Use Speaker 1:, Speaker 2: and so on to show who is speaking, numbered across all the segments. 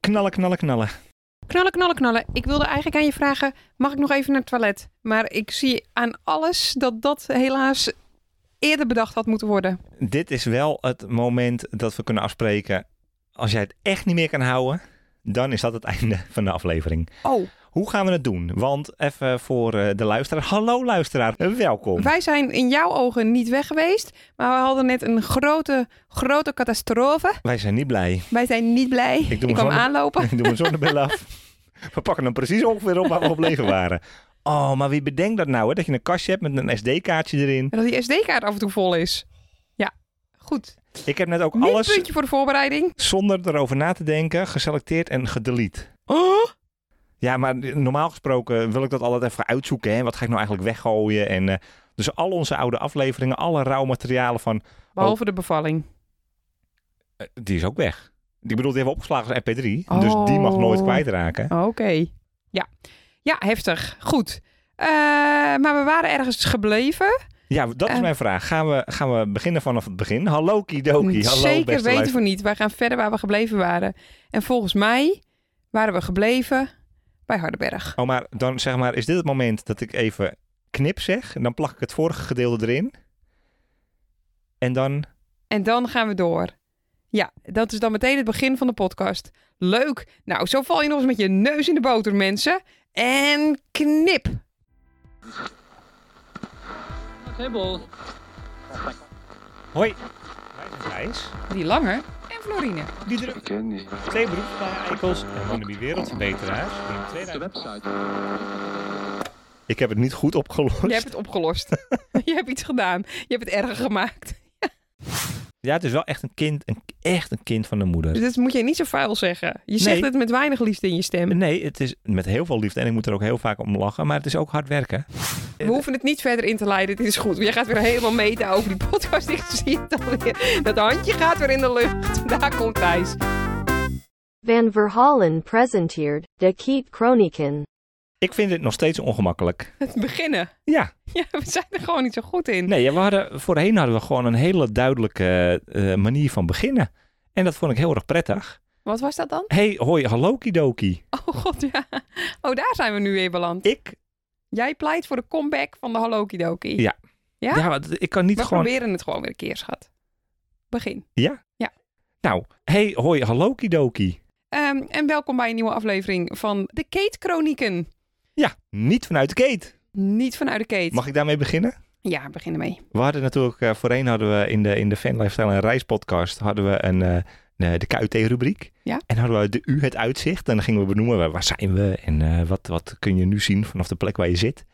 Speaker 1: knallen, knallen, knallen.
Speaker 2: Knallen, knallen, knallen. Ik wilde eigenlijk aan je vragen, mag ik nog even naar het toilet? Maar ik zie aan alles dat dat helaas eerder bedacht had moeten worden.
Speaker 1: Dit is wel het moment dat we kunnen afspreken. Als jij het echt niet meer kan houden, dan is dat het einde van de aflevering.
Speaker 2: Oh,
Speaker 1: Hoe gaan we het doen? Want even voor eh, de luisteraar. Hallo luisteraar, eh, welkom.
Speaker 2: wij zijn in jouw ogen niet weg geweest, maar we hadden net een grote, grote catastrofe.
Speaker 1: Wij zijn niet blij.
Speaker 2: Wij zijn niet blij.
Speaker 1: doe
Speaker 2: Ik,
Speaker 1: me
Speaker 2: kwam
Speaker 1: zo-
Speaker 2: aanlopen.
Speaker 1: Ik doe mijn zonnebril af. We pakken hem precies ongeveer op waar we gebleven waren. Oh, maar wie bedenkt dat nou, hè? Dat je een kastje hebt met een SD-kaartje erin.
Speaker 2: En dat die SD-kaart af en toe vol is. Ja, goed.
Speaker 1: Ik heb net ook
Speaker 2: Niet
Speaker 1: alles,
Speaker 2: puntje voor de voorbereiding.
Speaker 1: zonder erover na te denken, geselecteerd en gedelete.
Speaker 2: Oh,
Speaker 1: Ja, maar normaal gesproken wil ik dat altijd even uitzoeken. Hè? Wat ga ik nou eigenlijk weggooien? En, eh, dus al onze oude afleveringen, alle rouwmaterialen van...
Speaker 2: Behalve de bevalling.
Speaker 1: eh, die is ook weg. Ik bedoel, die hebben we opgeslagen als mp3. Dus die mag nooit
Speaker 2: Oh.
Speaker 1: kwijtraken.
Speaker 2: Oké. Ja. ja, heftig. Goed. Eh, maar we waren ergens gebleven.
Speaker 1: Ja, dat is
Speaker 2: Eh.
Speaker 1: mijn vraag. Gaan we, gaan we beginnen vanaf het begin? Hallo Kidoki, hallo
Speaker 2: Zeker
Speaker 1: beste
Speaker 2: weten
Speaker 1: luister-
Speaker 2: we niet. Wij gaan verder waar we gebleven waren. En volgens mij waren we gebleven bij Hardenberg.
Speaker 1: Oh, maar dan zeg maar, is dit het moment dat ik even knip zeg? En dan plak ik het vorige gedeelte erin. En dan...
Speaker 2: En dan gaan we door. Ja, dat is dan meteen het begin van de podcast. Leuk. Nou, zo val je nog eens met je neus in de boter, mensen. En knip.
Speaker 3: Hibbel.
Speaker 1: Hoi, wij zijn Gijs.
Speaker 2: Die Langer en Florine.
Speaker 1: Die druk Twee beroepseikels en wannabe wereldverbeteraars in
Speaker 3: De
Speaker 1: 2000...
Speaker 3: website.
Speaker 1: Ik heb het niet goed opgelost.
Speaker 2: Je hebt het opgelost. je hebt iets gedaan. Je hebt het erger gemaakt.
Speaker 1: Ja, het is wel echt een kind, een, echt een kind van de
Speaker 2: Dus
Speaker 1: moeder.
Speaker 2: dat moet je niet zo vuil zeggen. Je zegt
Speaker 1: Nee.
Speaker 2: het met weinig liefde in je stem.
Speaker 1: Nee, het is met heel veel liefde en ik moet er ook heel vaak om lachen, maar het is ook hard werken.
Speaker 2: We hoeven het niet verder in te leiden. Dit is goed. Jij gaat weer helemaal meten over die podcast. Ik zie het alweer. Dat handje gaat weer in de lucht. Daar komt Thijs.
Speaker 4: Van Verhalen presenteert De Keet Chronieken.
Speaker 1: Ik vind dit nog steeds ongemakkelijk.
Speaker 2: Het beginnen.
Speaker 1: Ja,
Speaker 2: Ja, we zijn er gewoon niet zo goed in.
Speaker 1: nee, ja, we hadden, voorheen hadden we gewoon een hele duidelijke eh, manier van beginnen. En dat vond ik heel erg prettig.
Speaker 2: Wat was dat dan?
Speaker 1: Hey, hoi, hallo Kidoki.
Speaker 2: Oh god, ja. Oh, daar zijn we nu weer beland.
Speaker 1: Ik,
Speaker 2: Jij pleit voor de comeback van de Hallo Kidoki.
Speaker 1: Ja,
Speaker 2: Ja?
Speaker 1: ja, want ik kan niet
Speaker 2: we
Speaker 1: gewoon...
Speaker 2: proberen het gewoon weer een keer, schat. Begin.
Speaker 1: Nou, hey, hoi, hallo Kidoki.
Speaker 2: Ehm, en welkom bij een nieuwe aflevering van de Kate Chronieken.
Speaker 1: Ja, niet vanuit de gate.
Speaker 2: Niet vanuit de Kate.
Speaker 1: Mag ik daarmee beginnen?
Speaker 2: Ja, begin ermee.
Speaker 1: We hadden natuurlijk, eh, voorheen hadden we in de, in de Fan Lifestyle en Reis podcast, hadden we een, eh, een- de KUT-rubriek.
Speaker 2: Ja.
Speaker 1: En hadden we de U het uitzicht. En dan gingen we benoemen, waar, waar zijn we en eh, wat, wat kun je nu zien vanaf de plek waar je zit.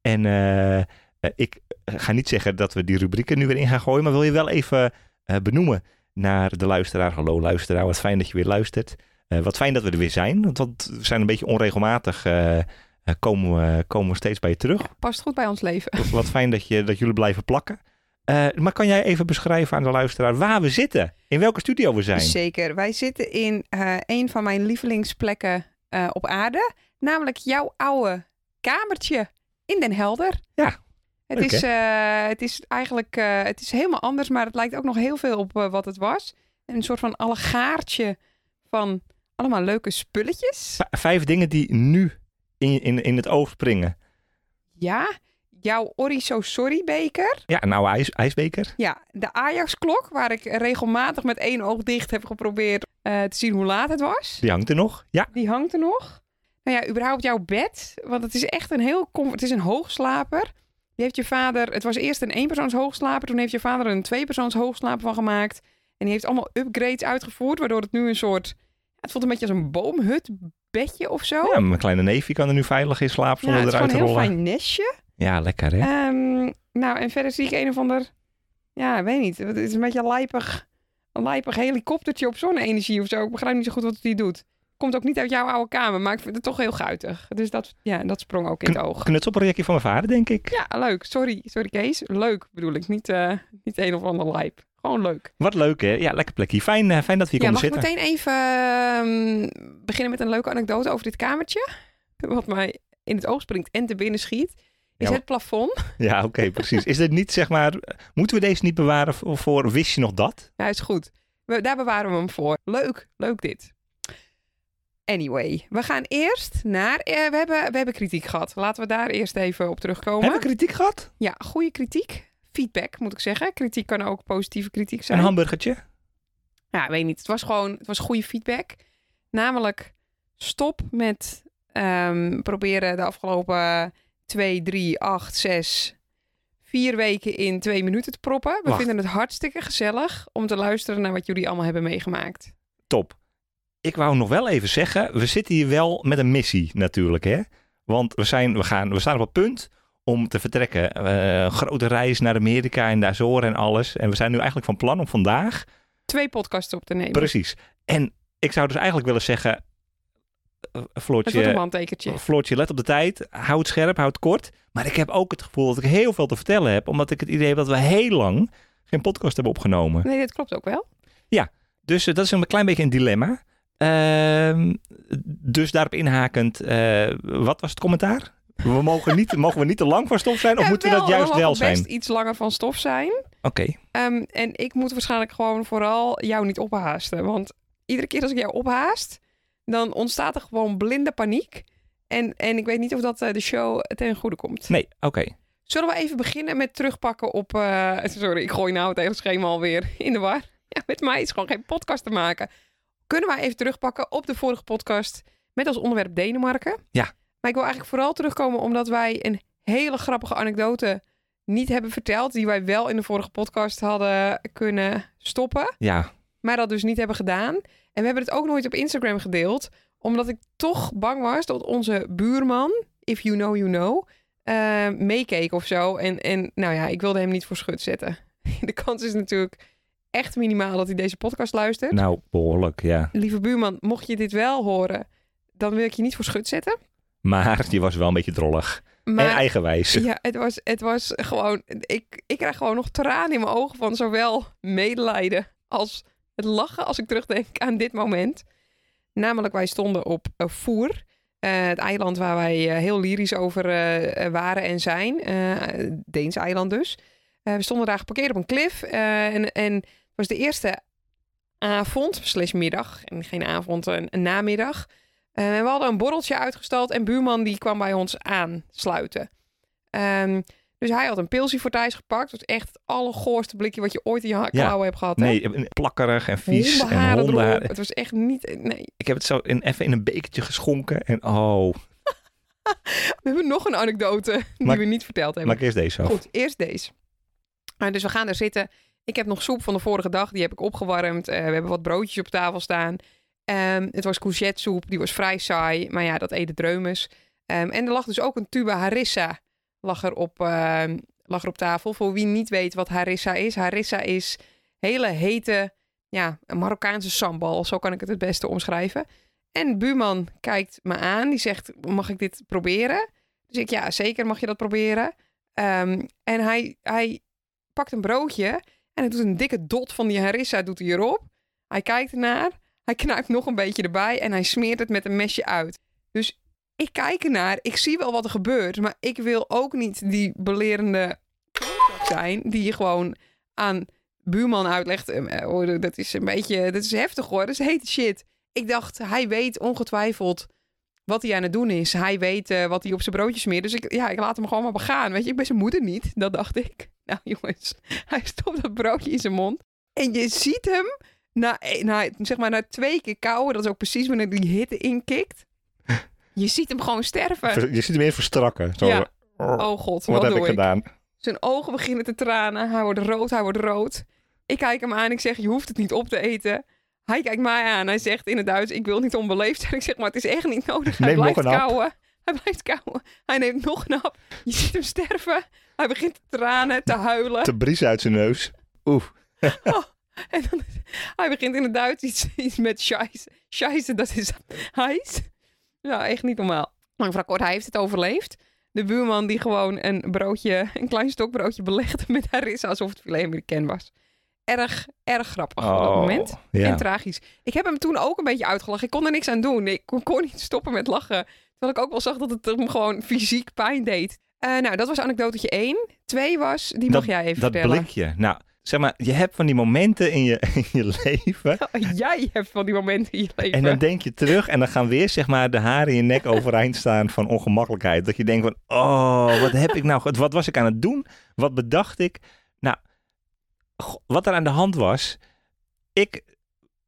Speaker 1: En eh, eh, ik ga niet zeggen dat we die rubrieken nu weer in gaan gooien, maar wil je wel even eh, benoemen naar de luisteraar. Hallo luisteraar, wat fijn dat je weer luistert. Eh, wat fijn dat we er weer zijn, want want we zijn een beetje onregelmatig. eh, eh, komen, we, komen we steeds bij je terug.
Speaker 2: Past goed bij ons leven.
Speaker 1: Wat fijn dat, je, dat jullie blijven plakken. Eh, maar kan jij even beschrijven aan de luisteraar waar we zitten? In welke studio we zijn?
Speaker 2: Zeker. Wij zitten in eh, een van mijn lievelingsplekken eh, op aarde. Namelijk jouw oude kamertje in Den Helder.
Speaker 1: Ja.
Speaker 2: Het,
Speaker 1: Leuk,
Speaker 2: is, eh, het is eigenlijk eh, het is helemaal anders, maar het lijkt ook nog heel veel op eh, wat het was. Een soort van allegaartje van allemaal leuke spulletjes.
Speaker 1: V- vijf dingen die nu in, in, in het oog springen.
Speaker 2: Ja, jouw Oriso Sorry beker.
Speaker 1: Ja, een oude ijs, ijsbeker.
Speaker 2: Ja, de Ajax-klok, waar ik regelmatig met één oog dicht heb geprobeerd eh, te zien hoe laat het was.
Speaker 1: Die hangt er nog. Ja,
Speaker 2: Die hangt er nog. Nou ja, überhaupt jouw bed. Want het is echt een heel... com- Het is een hoogslaper. Die heeft je vader... Het was eerst een eenpersoons hoogslaper. Toen heeft je vader er een tweepersoons hoogslaper van gemaakt. En die heeft allemaal upgrades uitgevoerd. Waardoor het nu een soort... Het voelt een beetje als een boomhutbedje of zo.
Speaker 1: ja mijn kleine neefje kan er nu veilig in slapen
Speaker 2: Oh. Ja,
Speaker 1: zonder
Speaker 2: het is gewoon
Speaker 1: eruit
Speaker 2: een
Speaker 1: te
Speaker 2: heel
Speaker 1: rollen.
Speaker 2: fijn nestje.
Speaker 1: Ja, lekker hè?
Speaker 2: Ehm, nou, en verder zie ik een of ander... Ja, ik weet niet. Het is een beetje een lijpig... Een lijpig helikoptertje op zonne-energie of zo. Ik begrijp niet zo goed wat het die doet. Komt ook niet uit jouw oude kamer, maar ik vind het toch heel guitig. Dus dat, ja, dat sprong ook in het oog.
Speaker 1: Knutselprojectje van mijn vader, denk ik.
Speaker 2: Ja, leuk. Sorry, sorry Kees. Leuk bedoel ik. Niet, eh, niet een of ander lijp. Gewoon leuk.
Speaker 1: Wat leuk hè? Ja, lekker plekje. Fijn, eh, fijn dat we hier
Speaker 2: ja, mag
Speaker 1: konden zitten.
Speaker 2: ik meteen even ehm, beginnen met een leuke anekdote over dit kamertje? Wat mij in het oog springt en te binnen schiet. Is
Speaker 1: Ja,
Speaker 2: het plafond.
Speaker 1: Ja, oké, precies. Is dit niet, zeg maar, moeten we deze niet bewaren voor, voor wist je nog dat?
Speaker 2: Ja, is goed. We, daar bewaren we hem voor. Leuk, leuk dit. Anyway, we gaan eerst naar. eh, we, hebben, we hebben kritiek gehad. Laten we daar eerst even op terugkomen.
Speaker 1: Hebben we kritiek gehad?
Speaker 2: Ja, goede kritiek. Feedback moet ik zeggen. Kritiek kan ook positieve kritiek
Speaker 1: Een
Speaker 2: zijn.
Speaker 1: hamburgertje?
Speaker 2: Ja, ik weet niet. Het was gewoon het was goede feedback. Namelijk, stop met ehm, proberen de afgelopen 2, 3, 8, 6, 4 weken in twee minuten te proppen. We
Speaker 1: Wacht.
Speaker 2: vinden het hartstikke gezellig om te luisteren naar wat jullie allemaal hebben meegemaakt.
Speaker 1: Top. Ik wou nog wel even zeggen, we zitten hier wel met een missie natuurlijk. Hè? Want we, zijn, we, gaan, we staan op het punt om te vertrekken. Eh, een grote reis naar Amerika en de Azoren en alles. En we zijn nu eigenlijk van plan om vandaag
Speaker 2: Twee podcasts op te nemen.
Speaker 1: Precies. En ik zou dus eigenlijk willen zeggen, eh,
Speaker 2: Het wordt een
Speaker 1: Floortje,
Speaker 2: handtekentje.
Speaker 1: Floortje, let op de tijd. Houd het scherp, houd het kort. Maar ik heb ook het gevoel dat ik heel veel te vertellen heb, omdat ik het idee heb dat we heel lang geen podcast hebben opgenomen.
Speaker 2: Nee, dit klopt ook wel.
Speaker 1: Dus eh, dat is een klein beetje een dilemma. Ehm, dus daarop inhakend, eh, wat was het commentaar? We mogen, niet, mogen we niet te lang van stof zijn, of
Speaker 2: Ja,
Speaker 1: moeten we dat
Speaker 2: wel,
Speaker 1: juist
Speaker 2: we mogen
Speaker 1: wel zijn?
Speaker 2: best iets langer van stof zijn.
Speaker 1: Oké,
Speaker 2: Ehm, en ik moet waarschijnlijk gewoon vooral jou niet ophaasten. Want iedere keer als ik jou ophaast, dan ontstaat er gewoon blinde paniek. En, en ik weet niet of dat eh, de show ten goede komt.
Speaker 1: nee, oké.
Speaker 2: Zullen we even beginnen met terugpakken op... eh, sorry, ik gooi nou het hele schema alweer in de war. Ja, met mij is gewoon geen podcast te maken. Kunnen wij even terugpakken op de vorige podcast met als onderwerp Denemarken?
Speaker 1: Ja.
Speaker 2: Maar ik wil eigenlijk vooral terugkomen omdat wij een hele grappige anekdote niet hebben verteld. Die wij wel in de vorige podcast hadden kunnen stoppen
Speaker 1: Ja,
Speaker 2: maar dat dus niet hebben gedaan. En we hebben het ook nooit op Instagram gedeeld, omdat ik toch bang was dat onze buurman, if you know, you know, eh, meekeek of zo. En, en nou ja, ik wilde hem niet voor schut zetten. De kans is natuurlijk echt minimaal dat hij deze podcast luistert.
Speaker 1: nou, behoorlijk, ja.
Speaker 2: Lieve buurman, mocht je dit wel horen, dan wil ik je niet voor schut zetten.
Speaker 1: Maar je was wel een beetje drollig. en
Speaker 2: Maar
Speaker 1: eigenwijs.
Speaker 2: ja, het was, het was gewoon, ik, ik krijg gewoon nog tranen in mijn ogen van zowel medelijden als het lachen als ik terugdenk aan dit moment. Namelijk, wij stonden op eh, Voer, eh, het eiland waar wij eh, heel lyrisch over eh, eh, waren en zijn. eh, Deens eiland dus. Eh, we stonden daar geparkeerd op een klif eh, en, en het was de eerste avond, slash middag, en geen avond, een, een namiddag. Eh, en we hadden een borreltje uitgestald en buurman die kwam bij ons aansluiten. Ehm, dus hij had een pilsie voor Thijs gepakt. Dat is echt het allergoorste blikje wat je ooit in je ha-
Speaker 1: Ja.
Speaker 2: klauwen hebt gehad. hè?
Speaker 1: Nee, eh, plakkerig en vies. En
Speaker 2: Hondenharen
Speaker 1: hondenhaar.
Speaker 2: erop. Het was echt niet... Nee.
Speaker 1: Ik heb het zo in, even in een bekertje geschonken. En oh,
Speaker 2: We hebben nog een anekdote
Speaker 1: Maar-
Speaker 2: die we niet verteld hebben.
Speaker 1: maak eerst deze af.
Speaker 2: Goed, eerst deze. Ah, dus we gaan er zitten. Ik heb nog soep van de vorige dag. Die heb ik opgewarmd. Eh, we hebben wat broodjes op tafel staan. Ehm, het was courgette-soep. Die was vrij saai. Maar ja, dat eten dreumes. Ehm, en er lag dus ook een tube harissa lag er, op, ehm, lag er op tafel. Voor wie niet weet wat harissa is. Harissa is hele hete ja, een Marokkaanse sambal. Zo kan ik het het beste omschrijven. En buurman kijkt me aan. Die zegt, mag ik dit proberen? Dus ik, ja, zeker mag je dat proberen. Ehm, en hij, hij pakt een broodje en hij doet een dikke dot van die harissa doet hij erop. Hij kijkt ernaar, hij knaakt nog een beetje erbij en hij smeert het met een mesje uit. Dus ik kijk ernaar, ik zie wel wat er gebeurt, maar ik wil ook niet die belerende klootzak zijn die je gewoon aan buurman uitlegt. Ehm, eh, hoor, dat is een beetje, dat is heftig hoor, dat is hete shit. Ik dacht, hij weet ongetwijfeld wat hij aan het doen is. Hij weet eh, wat hij op zijn broodje smeert. Dus ik, ja, ik laat hem gewoon maar begaan. Weet je, ik ben zijn moeder niet. Dat dacht ik. Nou jongens, hij stopt dat broodje in zijn mond. En je ziet hem na, eh, na, zeg maar, na twee keer kauwen. Dat is ook precies wanneer die hitte inkikt. Je ziet hem gewoon sterven.
Speaker 1: Je ziet hem eerst verstrakken. Zo,
Speaker 2: Ja.
Speaker 1: oh,
Speaker 2: Oh god, wat,
Speaker 1: wat heb
Speaker 2: doe
Speaker 1: ik gedaan?
Speaker 2: Zijn ogen beginnen te tranen. Hij wordt rood, hij wordt rood. Ik kijk hem aan. Ik zeg, je hoeft het niet op te eten. Hij kijkt mij aan. Hij zegt in het Duits, ik wil niet onbeleefd zijn. Ik zeg, maar het is echt niet nodig. Hij
Speaker 1: Neem nog
Speaker 2: blijft
Speaker 1: een hap.
Speaker 2: kauwen. Hij blijft kauwen. Hij neemt nog een hap. Je ziet hem sterven. Hij begint te tranen, te huilen.
Speaker 1: Te bries uit zijn neus. Oeh,
Speaker 2: En dan, hij begint in het Duits iets, iets met scheisse. Scheisse, dat is hijs. Nou, echt niet normaal. Lang verhaal kort, hij heeft het overleefd. De buurman die gewoon een broodje, een klein stokbroodje belegde met harissa alsof het filet Amerikaan was. Erg, erg grappig op dat
Speaker 1: Oh,
Speaker 2: moment.
Speaker 1: ja.
Speaker 2: En tragisch. Ik heb hem toen ook een beetje uitgelachen. Ik kon er niks aan doen. Ik kon, kon niet stoppen met lachen. Terwijl ik ook wel zag dat het hem gewoon fysiek pijn deed. Eh, nou, dat was anekdotetje één. Twee was, die mag jij even
Speaker 1: dat
Speaker 2: vertellen.
Speaker 1: blikje. Nou, zeg maar, je hebt van die momenten in je, in je leven.
Speaker 2: Jij hebt van die momenten in je leven.
Speaker 1: En dan denk je terug en dan gaan weer zeg maar de haren in je nek overeind staan van ongemakkelijkheid. Dat je denkt van, oh, wat heb ik nou, ge- wat was ik aan het doen? Wat bedacht ik? Nou, go- wat er aan de hand was, ik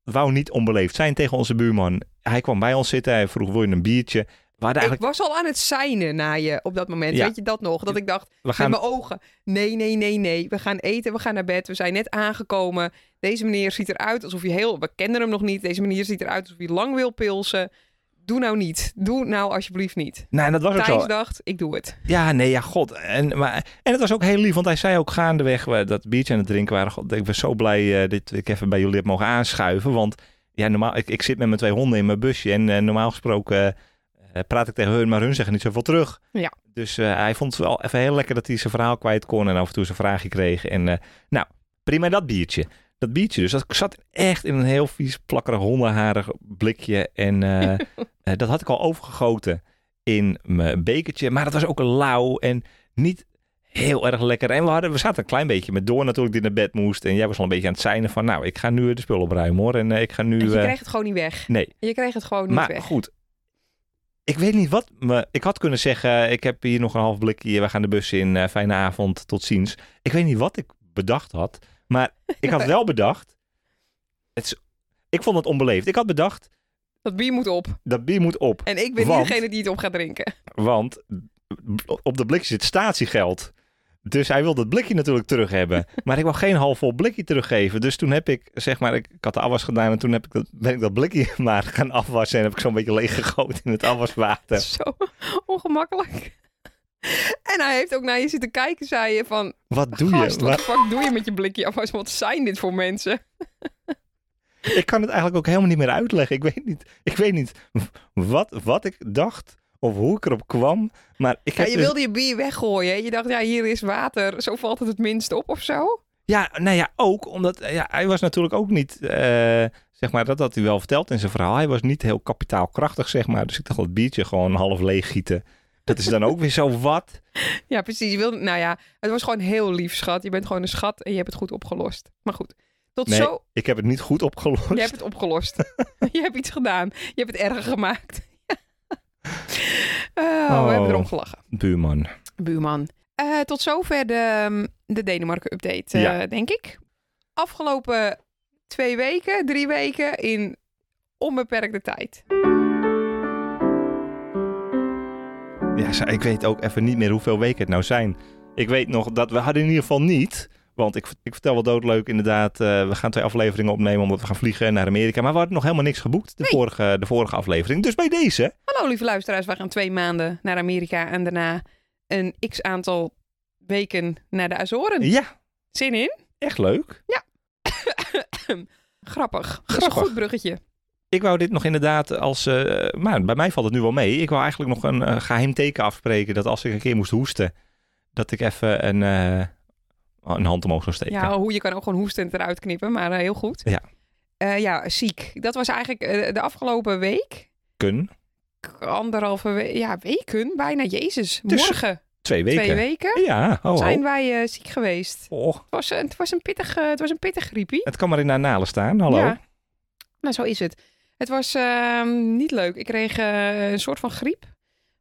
Speaker 1: wou niet onbeleefd zijn tegen onze buurman. Hij kwam bij ons zitten, hij vroeg, wil je een biertje? We hadden
Speaker 2: Ik
Speaker 1: eigenlijk,
Speaker 2: was al aan het seinen naar je op dat moment.
Speaker 1: Ja.
Speaker 2: Weet je dat nog? Dat ik dacht,
Speaker 1: we gaan,
Speaker 2: met mijn ogen. Nee, nee, nee, nee. We gaan eten, we gaan naar bed. We zijn net aangekomen. Deze meneer ziet eruit alsof hij heel... We kennen hem nog niet. Deze meneer ziet eruit alsof hij lang wil pilsen. Doe nou niet. Doe nou alsjeblieft niet.
Speaker 1: nou, en dat was ook zo.
Speaker 2: Thijs dacht, ik doe het.
Speaker 1: Ja, nee, ja, god. En, maar, en het was ook heel lief, want hij zei ook gaandeweg we dat biertje aan het drinken waren. God, ik ben zo blij eh, dat ik even bij jullie heb mogen aanschuiven. Want ja, normaal, ik, ik zit met mijn twee honden in mijn busje en eh, normaal gesproken eh, praat ik tegen hun, maar hun zeggen niet zoveel terug.
Speaker 2: Ja.
Speaker 1: Dus eh, hij vond het wel even heel lekker dat hij zijn verhaal kwijt kon en af en toe zijn vraagje kreeg. En eh, nou, prima dat biertje. Dat biertje dus, dat zat echt in een heel vies, plakkerig, hondenharig blikje. En eh, eh, dat had ik al overgegoten in mijn bekertje. Maar dat was ook lauw en niet heel erg lekker. En we, hadden, we zaten een klein beetje met door natuurlijk die naar bed moest. En jij was al een beetje aan het zijn van, nou, ik ga nu eh, de spullen opruimen hoor. En eh, ik ga nu...
Speaker 2: En je
Speaker 1: eh,
Speaker 2: kreeg het gewoon niet weg.
Speaker 1: nee,
Speaker 2: Je kreeg het gewoon niet
Speaker 1: maar
Speaker 2: weg.
Speaker 1: goed. Ik weet niet wat me... Ik had kunnen zeggen, ik heb hier nog een half blikje. We gaan de bus in. eh, fijne avond, tot ziens. Ik weet niet wat ik bedacht had. Maar ik had wel bedacht... Het is, ik vond het onbeleefd. Ik had bedacht,
Speaker 2: Dat bier moet op.
Speaker 1: dat bier moet op.
Speaker 2: En ik ben
Speaker 1: Want-
Speaker 2: niet degene die het op gaat drinken.
Speaker 1: Want op dat blikje zit statiegeld. Dus hij wil dat blikje natuurlijk terug hebben. Maar ik wou geen half vol blikje teruggeven. Dus toen heb ik, zeg maar, ik, ik had de afwas gedaan. En toen heb ik dat, ben ik dat blikje maar gaan afwassen. En heb ik zo'n beetje leeggegooid in het afwaswater.
Speaker 2: Zo ongemakkelijk. En hij heeft ook naar je zitten kijken, zei je van...
Speaker 1: Wat doe je?
Speaker 2: Gast, wat
Speaker 1: Waar-
Speaker 2: de fuck doe je met je blikje afwas? Wat zijn dit voor mensen?
Speaker 1: ik kan het eigenlijk ook helemaal niet meer uitleggen. Ik weet niet, ik weet niet wat, wat ik dacht of hoe ik erop kwam. Maar ik
Speaker 2: Ja,
Speaker 1: heb
Speaker 2: je
Speaker 1: dus-
Speaker 2: wilde je bier weggooien. hè? Je dacht, ja, hier is water. Zo valt het het minst op of zo.
Speaker 1: Ja, nou ja, ook omdat eh, ja, hij was natuurlijk ook niet, eh, zeg maar, dat had hij wel verteld in zijn verhaal. Hij was niet heel kapitaalkrachtig, zeg maar. Dus ik dacht, dat biertje gewoon half leeg gieten. Dat is dan ook weer zo wat.
Speaker 2: Ja, precies. Je wilde, nou ja, het was gewoon heel lief, schat. Je bent gewoon een schat en je hebt het goed opgelost. Maar goed, tot
Speaker 1: Nee,
Speaker 2: zo.
Speaker 1: ik heb het niet goed opgelost.
Speaker 2: Je hebt het opgelost. je hebt iets gedaan. Je hebt het erger gemaakt. Eh, We hebben erom gelachen.
Speaker 1: Buurman.
Speaker 2: Buurman. Eh, tot zover de, ehm, de Denemarken-update, eh,
Speaker 1: Ja.
Speaker 2: denk ik. Afgelopen twee weken, drie weken in onbeperkte tijd.
Speaker 1: Ja, ze- ik weet ook even niet meer hoeveel weken het nou zijn. Ik weet nog dat we hadden in ieder geval niet. Want ik, ik vertel wel doodleuk inderdaad. eh, we gaan twee afleveringen opnemen omdat we gaan vliegen naar Amerika. Maar we hadden nog helemaal niks geboekt de, vorige, de vorige aflevering. Dus bij deze
Speaker 2: Hallo lieve luisteraars, wij gaan twee maanden naar Amerika en daarna een x aantal weken naar de Azoren.
Speaker 1: Ja,
Speaker 2: Zin in?
Speaker 1: echt leuk.
Speaker 2: Grappig. Dat is een
Speaker 1: Grappig.
Speaker 2: goed bruggetje.
Speaker 1: Ik wou dit nog inderdaad als... eh, maar bij mij valt het nu wel mee. Ik wou eigenlijk nog een eh, geheim teken afspreken... dat als ik een keer moest hoesten... dat ik even een, eh, een hand omhoog zou steken.
Speaker 2: Ja, hoe je kan ook gewoon hoestend eruit knippen, maar eh, heel goed.
Speaker 1: Ja.
Speaker 2: Eh, ja, ziek. Dat was eigenlijk eh, de afgelopen week.
Speaker 1: Kun.
Speaker 2: Anderhalve we- ja, weken bijna. Jezus,
Speaker 1: Dus
Speaker 2: morgen
Speaker 1: Twee weken.
Speaker 2: twee weken
Speaker 1: Ja, ho, ho.
Speaker 2: zijn wij eh, ziek geweest.
Speaker 1: Och,
Speaker 2: Het was, een- het was een pittig, eh, het was een pittig griepie.
Speaker 1: het kan maar in de analen staan. Hallo.
Speaker 2: Ja. Nou, zo is het. Het was ehm, niet leuk. Ik kreeg eh, een soort van griep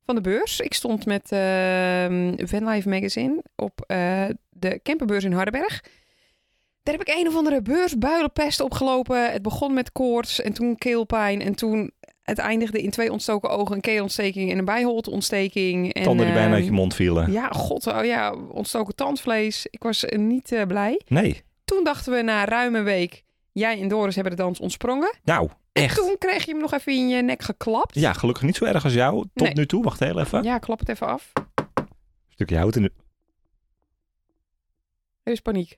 Speaker 2: van de beurs. Ik stond met ehm Vanlife Magazine op eh, de camperbeurs in Hardenberg. Daar heb ik een of andere beursbuilenpest opgelopen. Het begon met koorts en toen keelpijn. En toen het eindigde in twee ontstoken ogen, een keelontsteking en een bijholteontsteking. En,
Speaker 1: Tanden die bijna
Speaker 2: ehm,
Speaker 1: uit je mond vielen.
Speaker 2: Ja, god, oh ja, ontstoken tandvlees. Ik was eh, niet eh, blij.
Speaker 1: Nee.
Speaker 2: Toen dachten we na ruim een week, jij en Doris hebben de dans ontsprongen.
Speaker 1: Nou, echt.
Speaker 2: Toen kreeg je hem nog even in je nek geklapt.
Speaker 1: Ja, gelukkig niet zo erg als jou. Tot
Speaker 2: Nee.
Speaker 1: nu toe. Wacht heel even.
Speaker 2: Ja, klap het even af.
Speaker 1: Stukje hout in de...
Speaker 2: Er is paniek.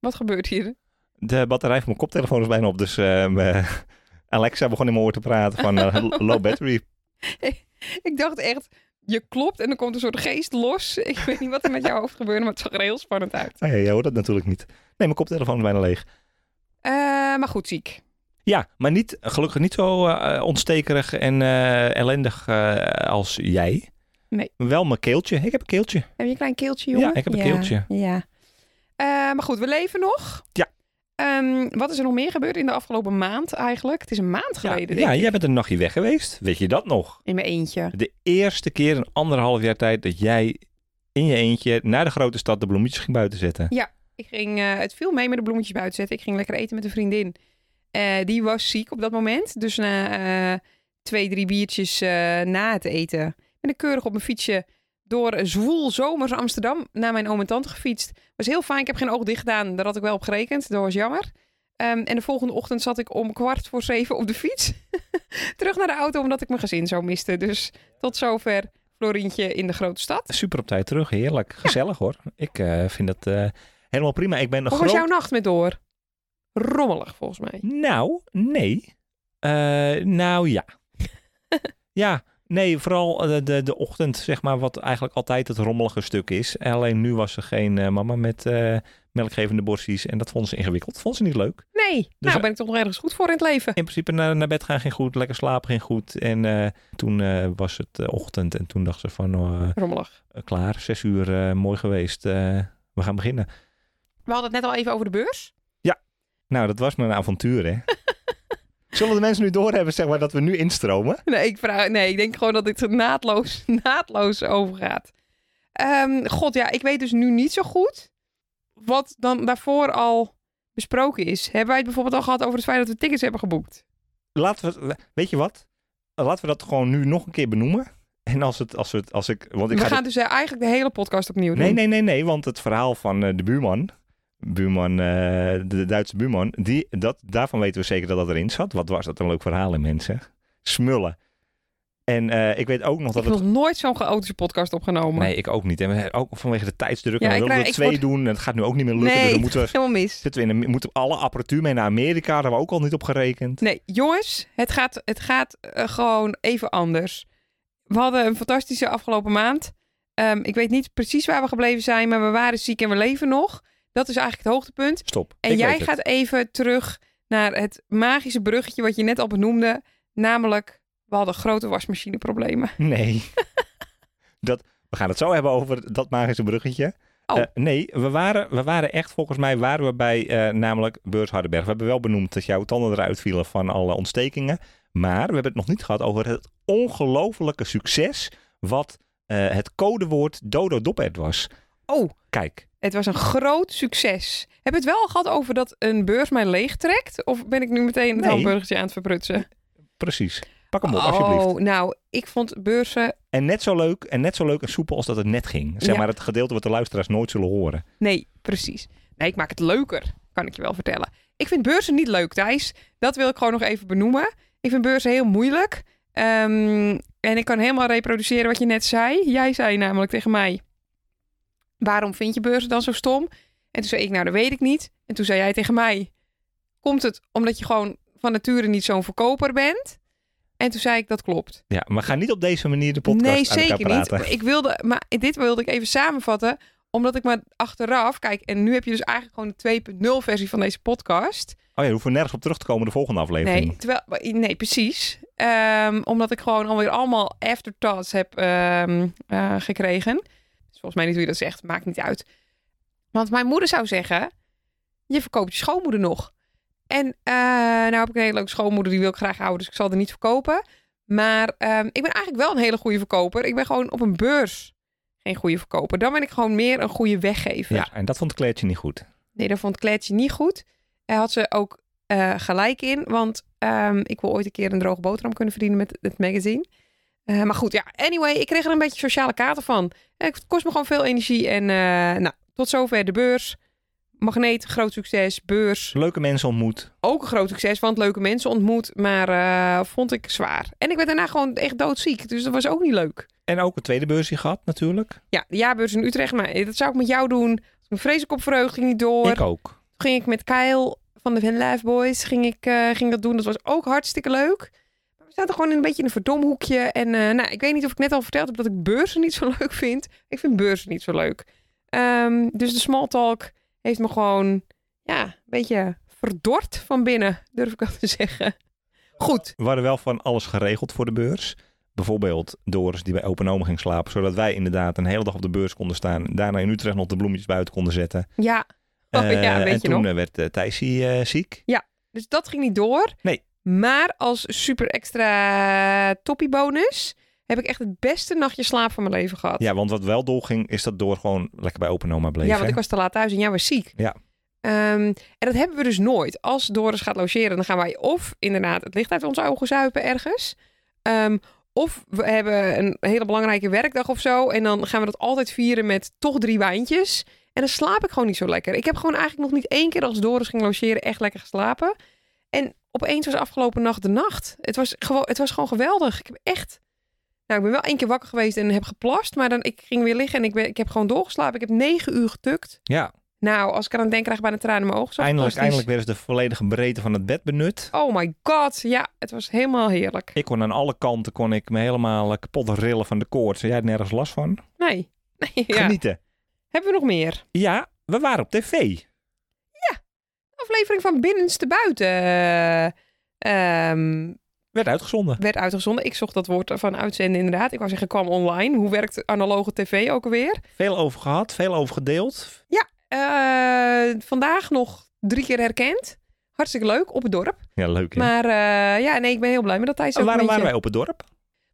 Speaker 2: Wat gebeurt hier?
Speaker 1: De batterij van mijn koptelefoon is bijna op. Dus ehm, eh, Alexa begon in mijn oor te praten van eh, low battery.
Speaker 2: Ik dacht echt, je klopt en er komt een soort geest los. Ik weet niet wat er met jouw hoofd gebeurde, maar het zag er heel spannend uit.
Speaker 1: Nee, jij hoort dat natuurlijk niet. Nee, mijn koptelefoon is bijna leeg.
Speaker 2: Eh, maar goed, ziek.
Speaker 1: Ja, maar niet, gelukkig niet zo eh, ontstekerig en eh, ellendig eh, als jij.
Speaker 2: Nee.
Speaker 1: Wel mijn keeltje. Ik heb een keeltje.
Speaker 2: Heb je een klein keeltje, jongen?
Speaker 1: Ja, ik heb een keeltje.
Speaker 2: Ja. Eh, maar goed, we leven nog.
Speaker 1: Ja.
Speaker 2: Ehm, wat is er nog meer gebeurd in de afgelopen maand eigenlijk? Het is een maand
Speaker 1: Ja,
Speaker 2: geleden, denk
Speaker 1: ja,
Speaker 2: ik.
Speaker 1: jij bent een nachtje weg geweest. Weet je dat nog?
Speaker 2: In mijn eentje.
Speaker 1: De eerste keer in anderhalf jaar tijd dat jij in je eentje naar de grote stad de bloemetjes ging buiten zetten.
Speaker 2: Ik ging, eh, het viel mee met de bloemetjes buiten zetten. Ik ging lekker eten met een vriendin. Eh, die was ziek op dat moment. Dus na eh, twee, drie biertjes eh, na het eten... ben ik keurig op mijn fietsje door zwoel zomers Amsterdam... naar mijn oom en tante gefietst. was heel fijn. Ik heb geen oog dicht gedaan. Daar had ik wel op gerekend. Dat was jammer. Ehm, en de volgende ochtend zat ik om kwart voor zeven op de fiets. Terug naar de auto, omdat ik mijn gezin zo miste. Dus tot zover Florientje in de grote stad.
Speaker 1: Super op tijd terug, heerlijk. Gezellig hoor. Ik eh, vind dat eh, helemaal prima. Ik ben een
Speaker 2: Hoe
Speaker 1: groot...
Speaker 2: was jouw nacht met door? Rommelig, volgens mij.
Speaker 1: Nou, nee. Eh, nou ja. ja, nee, vooral eh, de, de ochtend, zeg maar, wat eigenlijk altijd het rommelige stuk is. Alleen nu was er geen eh, mama met eh, melkgevende borstjes en dat vond ze ingewikkeld. Vond ze niet leuk.
Speaker 2: Nee,
Speaker 1: Dus-
Speaker 2: nou ben ik toch nog ergens goed voor in het leven.
Speaker 1: In principe naar, naar bed gaan ging goed, lekker slapen ging goed. En eh, toen eh, was het eh, ochtend en toen dacht ze van, oh,
Speaker 2: Rommelig.
Speaker 1: eh, klaar, zes uur, eh, mooi geweest, eh, we gaan beginnen.
Speaker 2: We hadden het net al even over de beurs.
Speaker 1: Nou, dat was maar een avontuur, hè. Zullen de mensen nu doorhebben, zeg maar, dat we nu instromen?
Speaker 2: Nee, ik, vraag, nee, ik denk gewoon dat dit er naadloos, naadloos overgaat. Ehm, God, ja, ik weet dus nu niet zo goed wat dan daarvoor al besproken is. Hebben wij het bijvoorbeeld al gehad over het feit dat we tickets hebben geboekt?
Speaker 1: laten we, weet je wat? Laten we dat gewoon nu nog een keer benoemen. En als het, als het, als ik, want ik
Speaker 2: we
Speaker 1: ga.
Speaker 2: gaan dus eh, eigenlijk de hele podcast opnieuw
Speaker 1: dit-
Speaker 2: doen.
Speaker 1: nee, nee, nee, nee, want het verhaal van eh, de buurman, buurman, eh, de Duitse buurman, die, dat, daarvan weten we zeker dat dat erin zat. Wat was dat een leuk verhaal in mensen? Smullen. En eh, ik weet ook nog
Speaker 2: Ik
Speaker 1: dat
Speaker 2: heb nog
Speaker 1: het.
Speaker 2: nooit zo'n chaotische podcast opgenomen.
Speaker 1: Nee, ik ook niet. En we- ook vanwege de tijdsdruk.
Speaker 2: Ja,
Speaker 1: en we
Speaker 2: ik
Speaker 1: wilden
Speaker 2: krijg-
Speaker 1: er
Speaker 2: ik
Speaker 1: twee
Speaker 2: word-
Speaker 1: doen. En het gaat nu ook niet meer lukken.
Speaker 2: Nee,
Speaker 1: dus dan
Speaker 2: het
Speaker 1: moeten
Speaker 2: gaat
Speaker 1: we,
Speaker 2: helemaal mis.
Speaker 1: zitten we in, een- moeten we alle apparatuur mee naar Amerika. Daar hebben we ook al niet op gerekend.
Speaker 2: Nee, jongens, het gaat, het gaat eh, gewoon even anders. We hadden een fantastische afgelopen maand. Ehm, ik weet niet precies waar we gebleven zijn, maar we waren ziek en we leven nog. Dat is eigenlijk het hoogtepunt.
Speaker 1: Stop.
Speaker 2: En
Speaker 1: Ik
Speaker 2: jij
Speaker 1: weet het.
Speaker 2: gaat even terug naar het magische bruggetje wat je net al benoemde. Namelijk, we hadden grote wasmachineproblemen.
Speaker 1: Nee. dat, we gaan het zo hebben over dat magische bruggetje.
Speaker 2: Oh.
Speaker 1: Eh, nee, we waren, we waren echt, volgens mij waren we bij eh, namelijk Beurs Hardenberg. We hebben wel benoemd dat jouw tanden eruit vielen van alle ontstekingen. Maar we hebben het nog niet gehad over het ongelofelijke succes wat eh, het codewoord Dodo Doppert was.
Speaker 2: Oh,
Speaker 1: Kijk,
Speaker 2: het was een groot succes. Heb je het wel al gehad over dat een beurs mij leegtrekt? Of ben ik nu meteen het
Speaker 1: Nee.
Speaker 2: hamburgertje aan het verprutsen?
Speaker 1: precies. Pak hem op, alsjeblieft.
Speaker 2: Oh, nou, ik vond beurzen
Speaker 1: En net zo leuk en net zo leuk en soepel als dat het net ging. Zeg
Speaker 2: Ja.
Speaker 1: maar het gedeelte wat de luisteraars nooit zullen horen.
Speaker 2: Nee, precies. Nee, ik maak het leuker, kan ik je wel vertellen. Ik vind beurzen niet leuk, Thijs. Dat wil ik gewoon nog even benoemen. Ik vind beurzen heel moeilijk. Ehm, en ik kan helemaal reproduceren wat je net zei. Jij zei namelijk tegen mij: Waarom vind je beurzen dan zo stom? En toen zei ik: Nou, dat weet ik niet. En toen zei jij tegen mij: Komt het omdat je gewoon van nature niet zo'n verkoper bent? En toen zei ik: Dat klopt
Speaker 1: Ja, maar ga niet op deze manier de podcast
Speaker 2: nee,
Speaker 1: aan elkaar
Speaker 2: zeker niet.
Speaker 1: praten.
Speaker 2: Ik wilde, maar dit wilde ik even samenvatten, omdat ik maar achteraf, kijk, en nu heb je dus eigenlijk gewoon de 2.0 versie van deze podcast.
Speaker 1: Oh ja, we hoeven nergens op terug te komen de volgende aflevering.
Speaker 2: Nee, terwijl, nee precies. Ehm, omdat ik gewoon alweer allemaal afterthoughts heb ehm, eh, gekregen. Dus volgens mij niet hoe je dat zegt, maakt niet uit. Want mijn moeder zou zeggen, je verkoopt je schoonmoeder nog. En eh, nou heb ik een hele leuke schoonmoeder, die wil ik graag houden, dus ik zal er niet verkopen. Maar ehm, ik ben eigenlijk wel een hele goede verkoper. Ik ben gewoon op een beurs geen goede verkoper. Dan ben ik gewoon meer een goede weggever.
Speaker 1: Ja, en dat vond Kleertje niet goed.
Speaker 2: Nee, dat vond Kletje niet goed. Hij had ze ook eh, gelijk in. Want ehm, ik wil ooit een keer een droge boterham kunnen verdienen met het magazine. Eh, maar goed, ja. Anyway, ik kreeg er een beetje sociale kater van. Eh, Het kost me gewoon veel energie. En eh, nou, tot zover de beurs. Magneet, groot succes. Beurs,
Speaker 1: Leuke mensen ontmoet.
Speaker 2: ook een groot succes. Want leuke mensen ontmoet. Maar eh, vond ik zwaar. En ik werd daarna gewoon echt doodziek. Dus dat was ook niet leuk.
Speaker 1: En ook een tweede beursje gehad natuurlijk.
Speaker 2: Ja, de jaarbeurs in Utrecht. Maar eh, dat zou ik met jou doen. Mijn vreselijk op verheugd ging niet door.
Speaker 1: Ik ook.
Speaker 2: Toen ging ik met Kyle van de Van Life Boys ging ik, eh, ging dat doen. Dat was ook hartstikke leuk. Maar we zaten gewoon in een beetje in een verdomhoekje. En eh, nou, ik weet niet of ik net al verteld heb dat ik beurzen niet zo leuk vind. Ik vind beurzen niet zo leuk. Ehm, dus de small talk heeft me gewoon ja, een beetje verdord van binnen, durf ik wel te zeggen. Goed.
Speaker 1: We hadden wel van alles geregeld voor de beurs. Bijvoorbeeld Doris die bij Open Oom ging slapen. Zodat wij inderdaad een hele dag op de beurs konden staan. Daarna in Utrecht nog de bloemetjes buiten konden zetten.
Speaker 2: Ja, Oh
Speaker 1: Eh,
Speaker 2: ja, weet
Speaker 1: en
Speaker 2: je
Speaker 1: toen
Speaker 2: nog.
Speaker 1: eh, werd eh Thijsie eh, ziek.
Speaker 2: Dus dat ging niet door.
Speaker 1: Nee.
Speaker 2: Maar als super extra toppie bonus heb ik echt het beste nachtje slaap van mijn leven gehad.
Speaker 1: Ja, want wat wel doorging, is dat door gewoon lekker bij open oma bleef.
Speaker 2: Ja, want
Speaker 1: hè?
Speaker 2: ik was te laat thuis en jij was ziek.
Speaker 1: Ja.
Speaker 2: Ehm, en dat hebben we dus nooit. Als Doris gaat logeren, dan gaan wij of inderdaad het licht uit onze ogen zuipen ergens. Ehm, of we hebben een hele belangrijke werkdag of zo. En dan gaan we dat altijd vieren met toch drie wijntjes. En dan slaap ik gewoon niet zo lekker. Ik heb gewoon eigenlijk nog niet één keer als Doris ging logeren echt lekker geslapen. En opeens was afgelopen nacht de nacht. Het was, gewoon, het was gewoon geweldig. Ik heb echt... Nou, ik ben wel één keer wakker geweest en heb geplast. Maar dan, ik ging weer liggen en ik, ben, ik heb gewoon doorgeslapen. Ik heb negen uur getukt.
Speaker 1: Ja,
Speaker 2: Nou, als ik eraan denk, krijg ik bijna tranen in mijn ogen. Zo
Speaker 1: eindelijk,
Speaker 2: fantastisch.
Speaker 1: eindelijk werd eens de volledige breedte van het bed benut.
Speaker 2: Oh my god. Ja, het was helemaal heerlijk.
Speaker 1: Ik kon aan alle kanten kon ik me helemaal eh, kapot rillen van de koorts. Jij had nergens last van.
Speaker 2: Nee. nee ja.
Speaker 1: Genieten.
Speaker 2: Hebben we nog meer?
Speaker 1: Ja, we waren op tv.
Speaker 2: Aflevering van Binnenste Buiten eh, ehm,
Speaker 1: Werd uitgezonden.
Speaker 2: werd uitgezonden. Ik zocht dat woord van uitzenden inderdaad. Ik wou zeggen, kwam online. Hoe werkt analoge tv ook alweer?
Speaker 1: Veel over gehad, veel over gedeeld.
Speaker 2: Eh, vandaag nog drie keer herkend. Hartstikke leuk, op het dorp.
Speaker 1: Ja, leuk hè?
Speaker 2: Maar eh, ja, nee, ik ben heel blij met dat Thijs ook
Speaker 1: En waarom
Speaker 2: een beetje-
Speaker 1: waren wij op het dorp?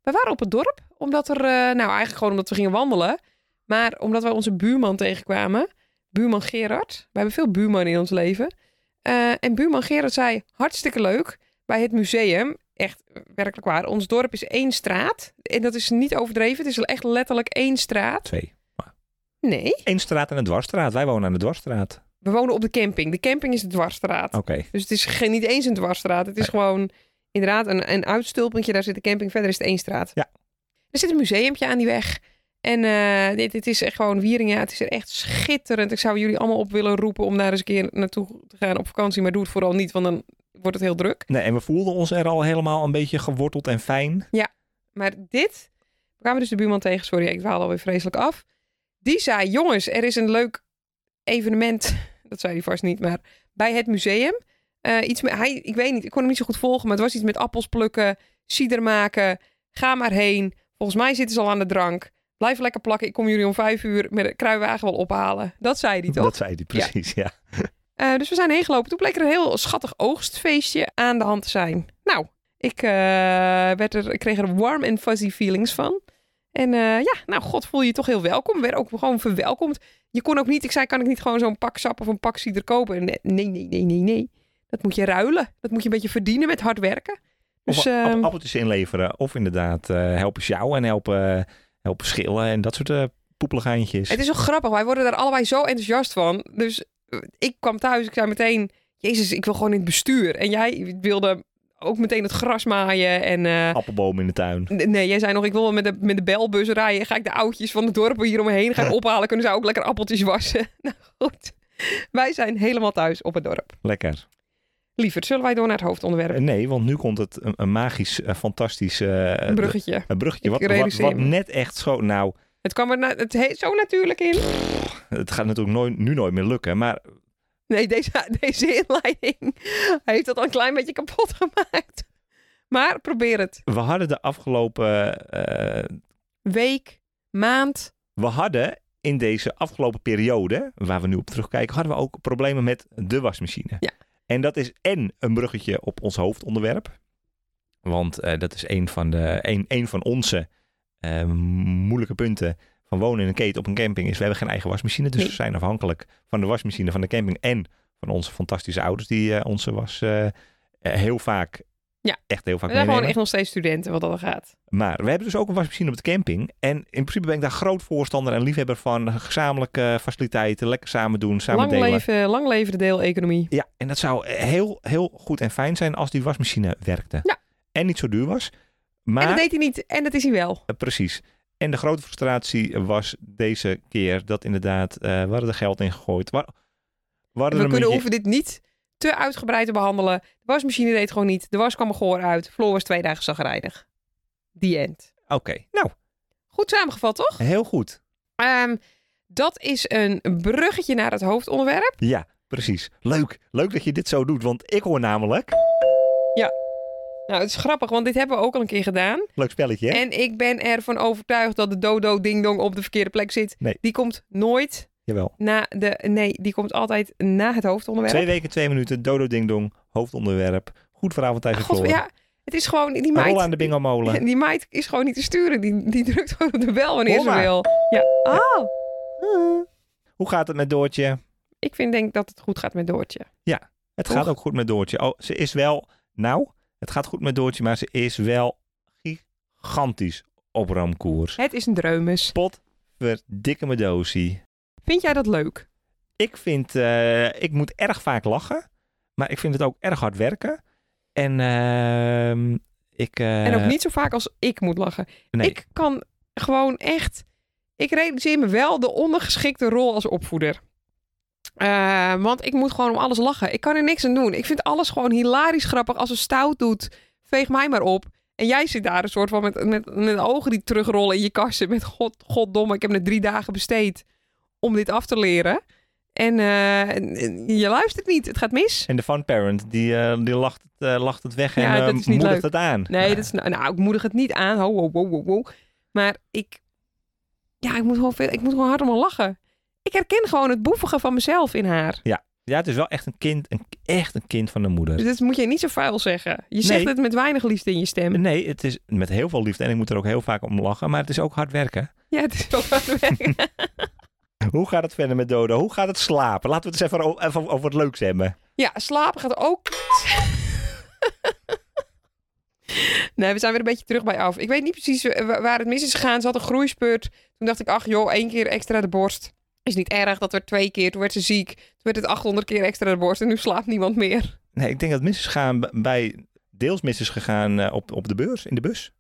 Speaker 2: We waren op het dorp, omdat er, eh, nou eigenlijk gewoon omdat we gingen wandelen, maar omdat wij onze buurman tegenkwamen, buurman Gerard. We hebben veel buurman in ons leven. Eh, en buurman Gerard zei, hartstikke leuk, bij het museum, echt eh, werkelijk waar, ons dorp is één straat. En dat is niet overdreven, het is echt letterlijk één straat.
Speaker 1: Twee.
Speaker 2: Nee,
Speaker 1: Eén straat en een dwarsstraat. Wij wonen aan de dwarsstraat.
Speaker 2: we wonen op de camping. De camping is de dwarsstraat.
Speaker 1: Oké.
Speaker 2: Dus het is geen, niet eens een dwarsstraat. Het is gewoon inderdaad een, een uitstulpuntje. Daar zit de camping. Verder is het één straat.
Speaker 1: Ja.
Speaker 2: Er zit een museumpje aan die weg. En eh, dit, dit is echt gewoon Wieringen. Het is er echt schitterend. Ik zou jullie allemaal op willen roepen om daar eens een keer naartoe te gaan op vakantie. Maar doe het vooral niet, want dan wordt het heel druk.
Speaker 1: Nee, en we voelden ons er al helemaal een beetje geworteld en fijn.
Speaker 2: Maar dit, we kwamen dus de buurman tegen. Sorry, ik dwaal alweer vreselijk af. Die zei, jongens, er is een leuk evenement. Dat zei hij vast niet, maar bij het museum. Eh, iets met, hij, ik weet niet, ik kon hem niet zo goed volgen, maar het was iets met appels plukken, cider maken. Ga maar heen. Volgens mij zitten ze al aan de drank. Blijf lekker plakken. Ik kom jullie om vijf uur met een kruiwagen wel ophalen. Dat zei hij toch?
Speaker 1: Dat zei hij precies, ja.
Speaker 2: Eh, dus we zijn heen gelopen. Toen bleek er een heel schattig oogstfeestje aan de hand te zijn. Nou, ik, eh, werd er, ik kreeg er warm en fuzzy feelings van. En eh, ja, nou, god, voel je je toch heel welkom. Werd ook gewoon verwelkomd. Je kon ook niet, ik zei, kan ik niet gewoon zo'n pak sap of een pak cider kopen? En, eh, Nee, nee, nee, nee, nee. Dat moet je ruilen. Dat moet je een beetje verdienen met hard werken.
Speaker 1: Of
Speaker 2: Dus,
Speaker 1: app-
Speaker 2: ehm,
Speaker 1: appeltjes inleveren. Of inderdaad eh, helpen sjouwen en helpen, helpen schillen en dat soort eh poepelgeintjes.
Speaker 2: Het is zo grappig. Wij worden daar allebei zo enthousiast van. Dus eh, ik kwam thuis. Ik zei meteen, jezus, ik wil gewoon in het bestuur. En jij wilde ook meteen het gras maaien en... eh,
Speaker 1: Appelboom in de tuin.
Speaker 2: N- Nee, jij zei nog, ik wil wel met de, met de belbus rijden. Ga ik de oudjes van de dorpen hier omheen gaan ophalen. Kunnen ze ook lekker appeltjes wassen? Nou goed, wij zijn helemaal thuis op het dorp.
Speaker 1: Lekker.
Speaker 2: Lieverd, zullen wij door naar het hoofdonderwerp?
Speaker 1: Eh, Nee, want nu komt het een, een magisch, eh, fantastisch eh,
Speaker 2: Een bruggetje.
Speaker 1: een bruggetje.
Speaker 2: Ik
Speaker 1: Wat, wat,
Speaker 2: realiseer
Speaker 1: wat
Speaker 2: me.
Speaker 1: net echt zo... Nou,
Speaker 2: Het kwam er na- het he- zo natuurlijk in.
Speaker 1: het gaat natuurlijk nooit, nu nooit meer lukken. Maar
Speaker 2: Nee, deze, deze inleiding heeft dat al een klein beetje kapot gemaakt. Maar probeer het.
Speaker 1: we hadden de afgelopen... eh,
Speaker 2: Week, maand.
Speaker 1: we hadden in deze afgelopen periode, waar we nu op terugkijken, hadden we ook problemen met de wasmachine.
Speaker 2: Ja.
Speaker 1: En dat is en een bruggetje op ons hoofdonderwerp. Want eh, dat is een van, de, een, een van onze eh, moeilijke punten van wonen in een keten op een camping. Is we hebben geen eigen wasmachine, dus
Speaker 2: Nee.
Speaker 1: we zijn afhankelijk van de wasmachine van de camping en van onze fantastische ouders die eh, onze was eh, eh, heel vaak,
Speaker 2: Ja.
Speaker 1: echt heel vaak
Speaker 2: We zijn gewoon
Speaker 1: meenemen.
Speaker 2: echt nog steeds studenten wat dat gaat.
Speaker 1: Maar we hebben dus ook een wasmachine op de camping. En in principe ben ik daar groot voorstander en liefhebber van. Gezamenlijke faciliteiten, lekker samen doen, samen
Speaker 2: Lang
Speaker 1: delen.
Speaker 2: leven, lang leven de deeleconomie.
Speaker 1: Ja, en dat zou heel, heel goed en fijn zijn als die wasmachine werkte.
Speaker 2: Ja.
Speaker 1: En niet zo duur was.
Speaker 2: En
Speaker 1: Maar,
Speaker 2: dat deed hij niet. En dat is hij wel.
Speaker 1: eh, precies. En de grote frustratie was deze keer dat inderdaad, eh we hadden er geld in gegooid. Wa- We, hadden
Speaker 2: We
Speaker 1: er een
Speaker 2: kunnen
Speaker 1: beetje-
Speaker 2: hoeven dit niet te uitgebreid te behandelen. De wasmachine deed gewoon niet. De was kwam er goor uit. Floor was twee dagen zagrijnig. The end.
Speaker 1: Oké, nou,
Speaker 2: Goed samengevat, toch?
Speaker 1: heel goed.
Speaker 2: Ehm, dat is een bruggetje naar het hoofdonderwerp.
Speaker 1: Ja, precies. Leuk. Leuk dat je dit zo doet, want ik hoor namelijk...
Speaker 2: Nou, het is grappig, want dit hebben we ook al een keer gedaan.
Speaker 1: Leuk spelletje, hè?
Speaker 2: En ik ben ervan overtuigd dat de dodo ding dong op de verkeerde plek zit.
Speaker 1: Nee.
Speaker 2: Die komt nooit
Speaker 1: Jawel.
Speaker 2: Na de, nee, die komt altijd na het hoofdonderwerp.
Speaker 1: Twee weken, twee minuten, dodo ding dong, hoofdonderwerp. Goed vanavond tegen
Speaker 2: Ah, God,
Speaker 1: Floor.
Speaker 2: ja, het is gewoon, die
Speaker 1: Een rol aan
Speaker 2: meid,
Speaker 1: de bingo-molen.
Speaker 2: die meid is gewoon niet te sturen. Die, die drukt gewoon op de bel wanneer
Speaker 1: Hoor
Speaker 2: ze
Speaker 1: maar.
Speaker 2: wil. Ja. Oh,
Speaker 1: Hoe gaat het met Doortje?
Speaker 2: ik vind denk dat het goed gaat met Doortje.
Speaker 1: Het
Speaker 2: Toch?
Speaker 1: gaat ook goed met Doortje. Oh, ze is wel, nou, het gaat goed met Doortje, maar ze is wel gigantisch op ramkoers.
Speaker 2: Het is een dreumes.
Speaker 1: Pot, verdikke me doosie.
Speaker 2: Vind jij dat leuk?
Speaker 1: Ik vind, eh, ik moet erg vaak lachen, maar ik vind het ook erg hard werken. En ehm, ik... eh,
Speaker 2: En ook niet zo vaak als ik moet lachen.
Speaker 1: nee.
Speaker 2: Ik kan gewoon echt. Ik realiseer me wel de ondergeschikte rol als opvoeder. Eh, want ik moet gewoon om alles lachen. Ik kan er niks aan doen. Ik vind alles gewoon hilarisch grappig. Als ze stout doet, veeg mij maar op. En jij zit daar een soort van met, met, met ogen die terugrollen in je kassen. Met god, goddomme, ik heb net drie dagen besteed om dit af te leren. En eh, en- en je luistert niet. Het gaat mis.
Speaker 1: En de fun parent, die, eh, die lacht, het, eh, lacht het weg en
Speaker 2: Ja,
Speaker 1: eh,
Speaker 2: dat is niet
Speaker 1: moedigt
Speaker 2: leuk.
Speaker 1: het aan.
Speaker 2: Nee, dat is, nou, nou, ik moedig het niet aan. Ho, ho, ho, ho, ho. Maar ik, ja, ik moet gewoon, veel, ik moet gewoon hard om haar lachen. Ik herken gewoon het boevige van mezelf in haar.
Speaker 1: Ja, het is wel echt een kind, een, echt een kind van de moeder.
Speaker 2: Dus dat moet je niet zo vuil zeggen. Je zegt
Speaker 1: Nee.
Speaker 2: het met weinig liefde in je stem.
Speaker 1: Nee, het is met heel veel liefde en ik moet er ook heel vaak om lachen, maar het is ook hard werken.
Speaker 2: Ja, het is wel hard werken.
Speaker 1: Hoe gaat het verder met Dodo? Hoe gaat het slapen? Laten we het eens even, o- even over wat leuks hebben.
Speaker 2: Ja, slapen gaat ook. nee, we zijn weer een beetje terug bij af. Ik weet niet precies eh, wa- waar het mis is gegaan. Ze had een groeispurt. Toen dacht ik, ach joh, één keer extra de borst. Is niet erg, dat werd twee keer. Toen werd ze ziek. Toen werd het 800 keer extra de borst. En nu slaapt niemand meer.
Speaker 1: Nee, ik denk dat het mis is gegaan b- bij, deels mis is gegaan eh, op, op de beurs, in de bus.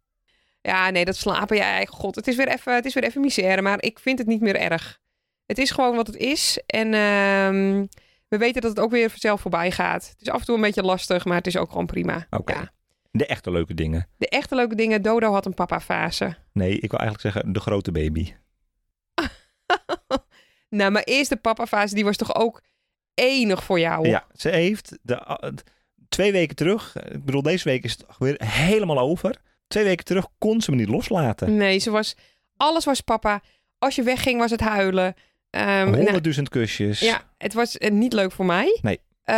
Speaker 2: Ja, nee, dat slapen. Ja, god, het is weer even, het is weer even misère, maar ik vind het niet meer erg. Het is gewoon wat het is. En ehm, we weten dat het ook weer vanzelf voorbij gaat. Het is af en toe een beetje lastig, maar het is ook gewoon prima.
Speaker 1: Oké.
Speaker 2: Ja.
Speaker 1: De echte leuke dingen.
Speaker 2: De echte leuke dingen. Dodo had een papa-fase.
Speaker 1: Nee, ik wil eigenlijk zeggen de grote baby.
Speaker 2: nou, maar eerst de papa-fase, die was toch ook enig voor jou?
Speaker 1: Ja, ze heeft de, a- d- twee weken terug, eh, ik bedoel deze week is het weer helemaal over. Twee weken terug kon ze me niet loslaten.
Speaker 2: Nee, ze was, alles was papa. Als je wegging, was het huilen. Ehm,
Speaker 1: Oh.
Speaker 2: nou,
Speaker 1: Honderdduizend kusjes.
Speaker 2: Ja, het was eh, niet leuk voor mij.
Speaker 1: Nee.
Speaker 2: Eh,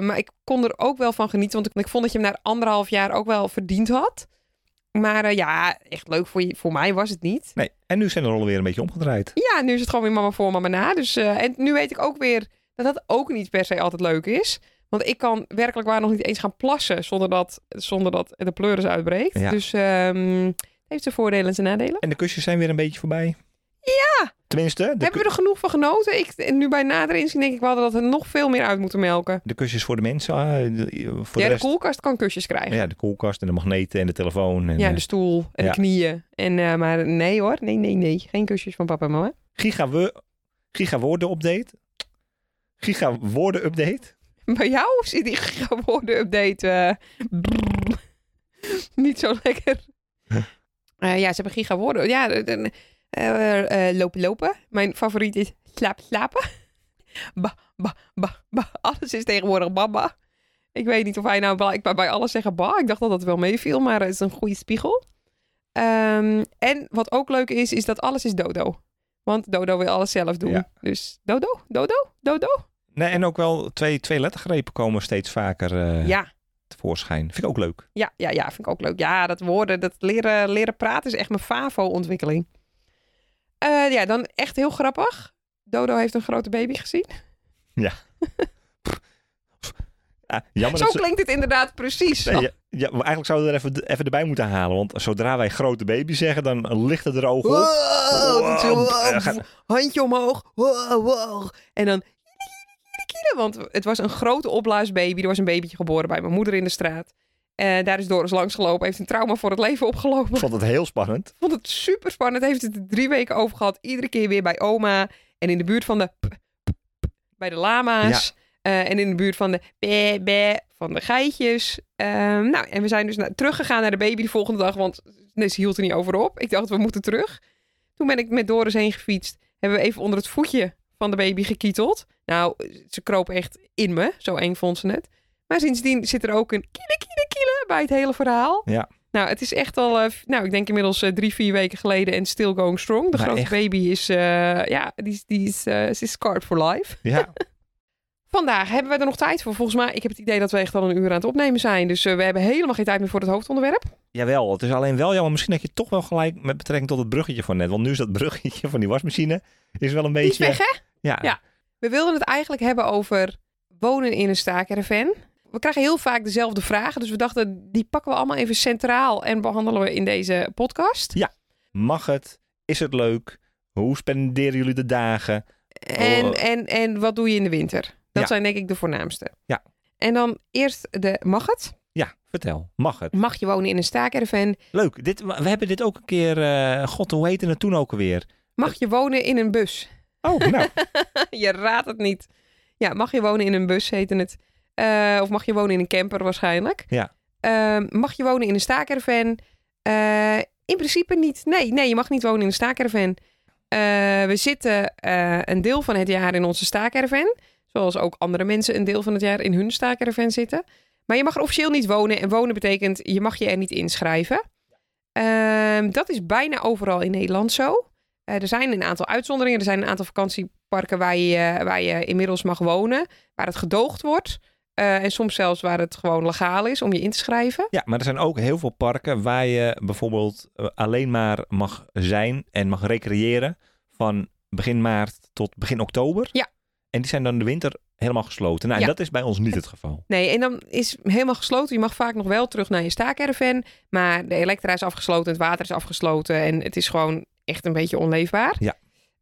Speaker 2: maar ik kon er ook wel van genieten, want ik, ik vond dat je hem na anderhalf jaar ook wel verdiend had. Maar eh, ja, echt leuk voor, je, voor mij was het niet.
Speaker 1: Nee, en nu zijn de rollen weer een beetje omgedraaid.
Speaker 2: Ja, nu is het gewoon weer mama voor, mama na. Dus, eh, en nu weet ik ook weer dat dat ook niet per se altijd leuk is. Want ik kan werkelijk waar nog niet eens gaan plassen zonder dat, zonder dat de pleuris uitbreekt.
Speaker 1: Ja.
Speaker 2: Dus ehm, het heeft zijn voordelen en zijn nadelen.
Speaker 1: En de kusjes zijn weer een beetje voorbij.
Speaker 2: Ja!
Speaker 1: Tenminste, de,
Speaker 2: Hebben we er genoeg van genoten? Ik, en nu bij nader inzien denk ik wel dat we er nog veel meer uit moeten melken.
Speaker 1: de kusjes voor de mensen. ah, de- voor
Speaker 2: ja,
Speaker 1: de
Speaker 2: de,
Speaker 1: rest.
Speaker 2: koelkast kan kusjes krijgen.
Speaker 1: ja, de koelkast en de magneten en de telefoon. En,
Speaker 2: Ja, dus-
Speaker 1: eh,
Speaker 2: de stoel en
Speaker 1: ja.
Speaker 2: de knieën. En, eh, maar nee hoor, nee, nee, nee. Geen kusjes van papa en mama.
Speaker 1: giga, we, giga woorden update. Giga woorden update.
Speaker 2: Bij jou zit die geworden update eh, brrr, niet zo lekker. Eh, ja, ze hebben giga woorden. Ja, eh, eh, eh, eh, lopen, lopen. Mijn favoriet is slaap, slapen. Ba, ba, ba, ba. Alles is tegenwoordig baba. Ik weet niet of hij nou ba, ik wou bij alles zeggen ba. Ik dacht dat dat wel meeviel, maar het is een goede spiegel. Ehm, en wat ook leuk is, is dat alles is dodo. Want dodo wil alles zelf doen.
Speaker 1: Ja.
Speaker 2: Dus dodo, dodo, dodo.
Speaker 1: Nee, en ook wel twee, twee lettergrepen komen steeds vaker eh,
Speaker 2: ja.
Speaker 1: tevoorschijn. Vind ik ook leuk.
Speaker 2: Ja, ja, ja, vind ik ook leuk. Ja, dat woorden, dat leren, leren praten is echt mijn FAVO-ontwikkeling. Eh, ja, dan echt heel grappig. Dodo heeft een grote baby gezien.
Speaker 1: Ah, jammer
Speaker 2: Zo
Speaker 1: dat ze-
Speaker 2: klinkt het inderdaad precies.
Speaker 1: Nee, ja, ja, maar eigenlijk zouden we er even, even erbij moeten halen. Want zodra wij grote baby zeggen, dan licht het er ogen
Speaker 2: Oh.
Speaker 1: op.
Speaker 2: Wow, dat is heel-
Speaker 1: Wow, eh, gaat-
Speaker 2: Handje omhoog. Wow, wow. En dan... Want het was een grote opblaasbaby. Er was een babytje geboren bij mijn moeder in de straat. Eh, daar is Doris langsgelopen. Heeft een trauma voor het leven opgelopen.
Speaker 1: Ik vond het heel spannend.
Speaker 2: vond het super spannend. Heeft het er drie weken over gehad. Iedere keer weer bij oma. En in de buurt van de. p- p- p- bij de lama's. Eh, en in de buurt van de. Be, be, van de geitjes. Ehm, nou, en we zijn dus na- teruggegaan naar de baby de volgende dag. Want nee, ze hield er niet over op. Ik dacht, we moeten terug. Toen ben ik met Doris heen gefietst. Hebben we even onder het voetje van de baby gekieteld. Nou, ze kroop echt in me. Zo eng vond ze het. Maar sindsdien zit er ook een kiele, kiele, kiele bij het hele verhaal.
Speaker 1: Ja.
Speaker 2: Nou, het is echt al, eh, f- nou, ik denk inmiddels eh, drie, vier weken geleden en still going strong. De
Speaker 1: Maar
Speaker 2: grote
Speaker 1: echt.
Speaker 2: baby is, eh, ja, die, is- die is, eh, ze is scarred for life.
Speaker 1: Ja,
Speaker 2: Vandaag hebben we er nog tijd voor. Volgens mij, ik heb het idee dat we echt al een uur aan het opnemen zijn. Dus eh, we hebben helemaal geen tijd meer voor het hoofdonderwerp.
Speaker 1: jawel. Het is alleen wel jammer. Misschien dat je toch wel gelijk met betrekking tot het bruggetje van net. Want nu is dat bruggetje van die wasmachine is wel een
Speaker 2: Die is
Speaker 1: beetje...
Speaker 2: weg, hè?
Speaker 1: ja,
Speaker 2: Ja. We wilden het eigenlijk hebben over wonen in een staakerven. We krijgen heel vaak dezelfde vragen. Dus we dachten, die pakken we allemaal even centraal en behandelen we in deze podcast.
Speaker 1: Mag het? Is het leuk? Hoe spenderen jullie de dagen?
Speaker 2: En,
Speaker 1: Oh.
Speaker 2: en, en wat doe je in de winter? Dat
Speaker 1: Ja.
Speaker 2: zijn denk ik de voornaamste.
Speaker 1: Ja.
Speaker 2: En dan eerst de mag het?
Speaker 1: Ja, vertel. Mag het?
Speaker 2: Mag je wonen in een staakerven?
Speaker 1: Leuk. Dit, we hebben dit ook een keer... eh, God, hoe heette het toen ook alweer?
Speaker 2: Mag je wonen in een bus?
Speaker 1: Oh, nou.
Speaker 2: je raadt het niet. Ja, mag je wonen in een bus, heette het. Eh, of mag je wonen in een camper waarschijnlijk.
Speaker 1: Ja.
Speaker 2: Ehm, mag je wonen in een staakerven? in principe niet. Nee, nee, je mag niet wonen in een staakerven. we zitten eh, een deel van het jaar in onze staakerven. Zoals ook andere mensen een deel van het jaar in hun staakerven zitten. Maar je mag er officieel niet wonen. En wonen betekent, je mag je er niet inschrijven. Ehm, dat is bijna overal in Nederland zo. Eh, er zijn een aantal uitzonderingen. Er zijn een aantal vakantieparken waar je, eh, waar je inmiddels mag wonen. Waar het gedoogd wordt. Eh, en soms zelfs waar het gewoon legaal is om je in te schrijven.
Speaker 1: Ja, maar er zijn ook heel veel parken waar je bijvoorbeeld eh, alleen maar mag zijn en mag recreëren van begin maart tot begin oktober.
Speaker 2: Ja.
Speaker 1: En die zijn dan de winter helemaal gesloten. Nou, en
Speaker 2: Ja.
Speaker 1: dat is bij ons niet het geval.
Speaker 2: Nee, en dan is helemaal gesloten. Je mag vaak nog wel terug naar je staakerven. Maar de elektra is afgesloten, het water is afgesloten. En het is gewoon echt een beetje onleefbaar.
Speaker 1: Ja.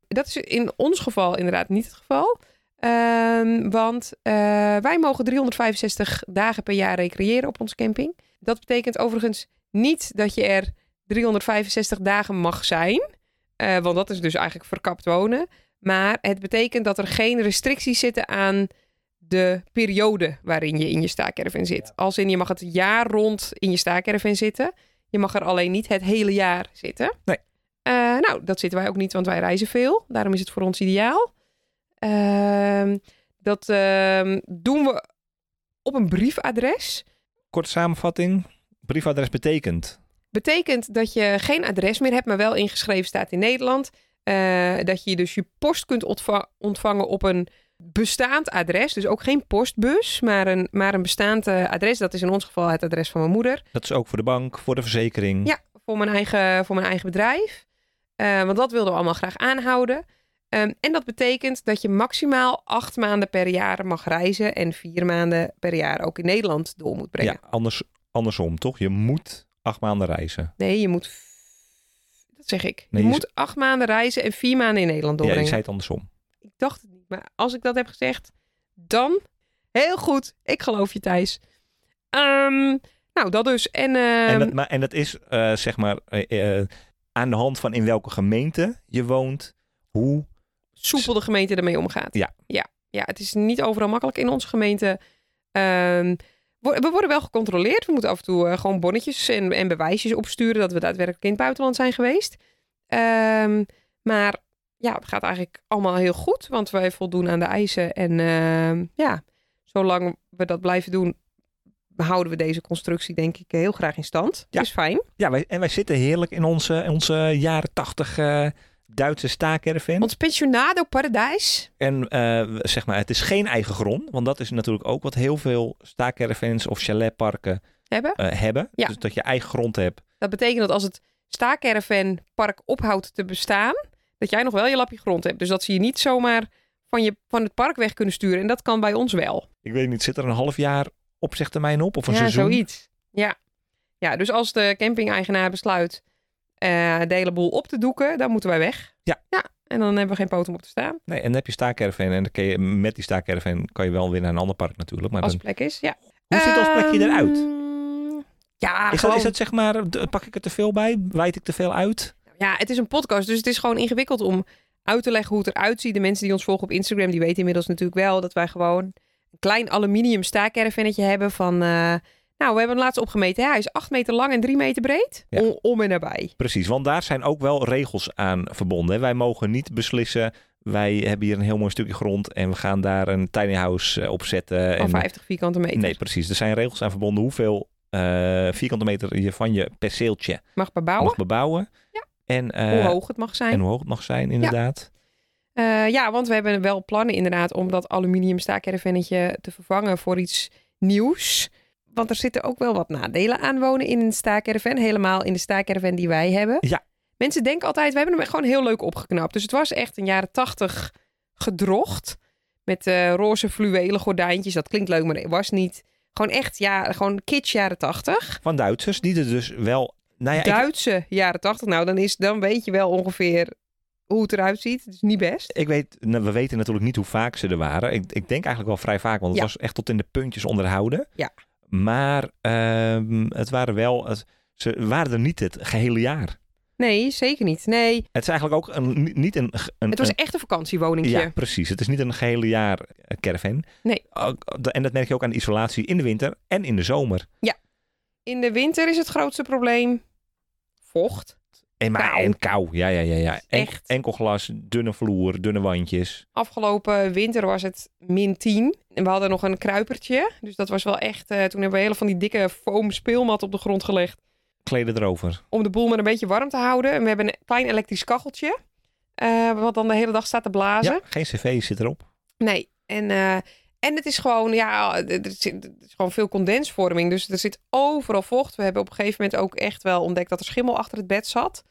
Speaker 2: Dat is in ons geval inderdaad niet het geval. Ehm, want eh, wij mogen 365 dagen per jaar recreëren op onze camping. Dat betekent overigens niet dat je er 365 dagen mag zijn. Eh, want dat is dus eigenlijk verkapt wonen. Maar het betekent dat er geen restricties zitten aan de periode waarin je in je staakerven zit. Als in je mag het jaar rond in je staakerven zitten. Je mag er alleen niet het hele jaar zitten.
Speaker 1: Nee.
Speaker 2: Eh, nou, dat zitten wij ook niet, want wij reizen veel. Daarom is het voor ons ideaal. Ehm, dat ehm, doen we op een briefadres.
Speaker 1: Korte samenvatting. Briefadres betekent.
Speaker 2: Betekent dat je geen adres meer hebt, maar wel ingeschreven staat in Nederland. Eh, dat je dus je post kunt ontva- ontvangen op een bestaand adres. Dus ook geen postbus, maar een, maar een bestaand eh, adres. Dat is in ons geval het adres van mijn moeder.
Speaker 1: Dat is ook voor de bank, voor de verzekering.
Speaker 2: Ja, voor mijn eigen, voor mijn eigen bedrijf. Eh, want dat wilden we allemaal graag aanhouden. Ehm, en dat betekent dat je maximaal acht maanden per jaar mag reizen. En vier maanden per jaar ook in Nederland door moet brengen.
Speaker 1: Ja, anders, andersom, toch? Je moet acht maanden reizen.
Speaker 2: Nee, je moet. Dat zeg ik.
Speaker 1: Nee,
Speaker 2: je
Speaker 1: je-
Speaker 2: moet acht maanden reizen en vier maanden in Nederland
Speaker 1: Ja,
Speaker 2: doorbrengen.
Speaker 1: ik zei het andersom.
Speaker 2: Ik dacht het niet, maar als ik dat heb gezegd, dan heel goed. Ik geloof je, Thijs. Ehm, nou, dat dus. En, ehm,
Speaker 1: en, dat, maar, en dat is eh, zeg maar eh, eh, aan de hand van in welke gemeente je woont, hoe
Speaker 2: soepel de gemeente ermee omgaat.
Speaker 1: Ja.
Speaker 2: ja. Ja, het is niet overal makkelijk in onze gemeente. Ehm, wo- we worden wel gecontroleerd. We moeten af en toe eh, gewoon bonnetjes en, en bewijsjes opsturen dat we daadwerkelijk in het buitenland zijn geweest. Ehm, maar ja, het gaat eigenlijk allemaal heel goed, want wij voldoen aan de eisen. En ehm, ja, zolang we dat blijven doen, houden we deze constructie denk ik heel graag in stand.
Speaker 1: Ja.
Speaker 2: Is fijn.
Speaker 1: Ja, wij, en wij zitten heerlijk in onze, in onze jaren tachtig eh, Duitse staakerven.
Speaker 2: Ons pensionado paradijs.
Speaker 1: En eh, we- zeg maar, het is geen eigen grond. Want dat is natuurlijk ook wat heel veel staakervens of chaletparken
Speaker 2: Hebben.
Speaker 1: eh, hebben.
Speaker 2: Ja.
Speaker 1: Dus dat je eigen grond hebt.
Speaker 2: Dat betekent dat als het staakervenpark ophoudt te bestaan, dat jij nog wel je lapje grond hebt. Dus dat ze je niet zomaar van, je, van het park weg kunnen sturen. En dat kan bij ons wel.
Speaker 1: Ik weet niet, zit er een half jaar opzegtermijn op? Of een
Speaker 2: ja,
Speaker 1: seizoen?
Speaker 2: zoiets. Ja. ja, dus als de camping-eigenaar besluit eh, de hele boel op te doeken, dan moeten wij weg.
Speaker 1: Ja.
Speaker 2: ja. En dan hebben we geen poten om op te staan,
Speaker 1: Nee, en dan heb je staakerven. En dan kun je, met die staakerven kan je wel weer naar een ander park natuurlijk. Maar
Speaker 2: als
Speaker 1: dan,
Speaker 2: plek is. Ja.
Speaker 1: hoe ziet ons plekje
Speaker 2: Ehm,
Speaker 1: eruit?
Speaker 2: Ja,
Speaker 1: Is dat,
Speaker 2: gewoon-
Speaker 1: is dat zeg maar, d- pak ik er te veel bij? Wijd ik te veel uit?
Speaker 2: ja, het is een podcast, dus het is gewoon ingewikkeld om uit te leggen hoe het eruit ziet. De mensen die ons volgen op Instagram, die weten inmiddels natuurlijk wel dat wij gewoon een klein aluminium staakervennetje hebben van... eh, nou, we hebben hem laatst opgemeten. Ja, hij is 8 meter lang en 3 meter breed.
Speaker 1: Ja.
Speaker 2: Om, om en nabij.
Speaker 1: Precies, want daar zijn ook wel regels aan verbonden. hè. Wij mogen niet beslissen, wij hebben hier een heel mooi stukje grond en we gaan daar een tiny house eh, opzetten.
Speaker 2: Van
Speaker 1: en,
Speaker 2: 50 vierkante meter.
Speaker 1: nee, precies. Er zijn regels aan verbonden hoeveel eh, vierkante meter je- van je perceeltje
Speaker 2: Mag bebouwen.
Speaker 1: mag bebouwen.
Speaker 2: Ja.
Speaker 1: En, eh,
Speaker 2: hoe hoog het mag zijn.
Speaker 1: en hoe hoog het mag zijn, inderdaad.
Speaker 2: Eh, ja, want we hebben wel plannen inderdaad om dat aluminium staakervennetje te vervangen voor iets nieuws. Want er zitten ook wel wat nadelen aan wonen in een staakerven. Helemaal in de staakerven die wij hebben.
Speaker 1: Ja.
Speaker 2: Mensen denken altijd, we hebben hem gewoon heel leuk opgeknapt. Dus het was echt een jaren tachtig gedrocht. Met eh, roze fluwelen gordijntjes. Dat klinkt leuk, maar het was niet. Gewoon echt, ja, gewoon kitsch jaren tachtig.
Speaker 1: Van Duitsers, die er dus wel... Nou ja, ik,
Speaker 2: Duitse jaren tachtig. Nou, dan, is, dan weet je wel ongeveer hoe het eruit ziet. Het is niet best.
Speaker 1: ik weet, nou, we weten natuurlijk niet hoe vaak ze er waren. Ik, ik denk eigenlijk wel vrij vaak, want het
Speaker 2: Ja.
Speaker 1: was echt tot in de puntjes onderhouden.
Speaker 2: Ja.
Speaker 1: Maar ehm, het waren wel... het- ze waren er niet het gehele jaar.
Speaker 2: Nee, zeker niet. Nee,
Speaker 1: Het is eigenlijk ook een, niet- niet een... ge- een
Speaker 2: Het was
Speaker 1: een-
Speaker 2: echt een vakantiewoning.
Speaker 1: Ja, precies. Het is niet een gehele jaar eh, caravan.
Speaker 2: Nee.
Speaker 1: Ook- En dat merk je ook aan de isolatie in de winter en in de zomer.
Speaker 2: In de winter is het grootste probleem vocht.
Speaker 1: En, maar,
Speaker 2: Kou.
Speaker 1: en kou, ja, ja, ja. ja. En,
Speaker 2: Echt.
Speaker 1: enkel glas, dunne vloer, dunne wandjes.
Speaker 2: Afgelopen winter was het min 10. En we hadden nog een kruipertje. Dus dat was wel echt... eh, toen hebben we hele van die dikke foam speelmat op de grond gelegd.
Speaker 1: Kleden erover.
Speaker 2: Om de boel maar een beetje warm te houden. En we hebben een klein elektrisch kacheltje. eh, wat dan de hele dag staat te blazen.
Speaker 1: Ja, geen cv zit erop.
Speaker 2: Nee. En, eh, en het is gewoon, ja, er, zit, er is gewoon veel condensvorming. Dus er zit overal vocht. We hebben op een gegeven moment ook echt wel ontdekt dat er schimmel achter het bed zat.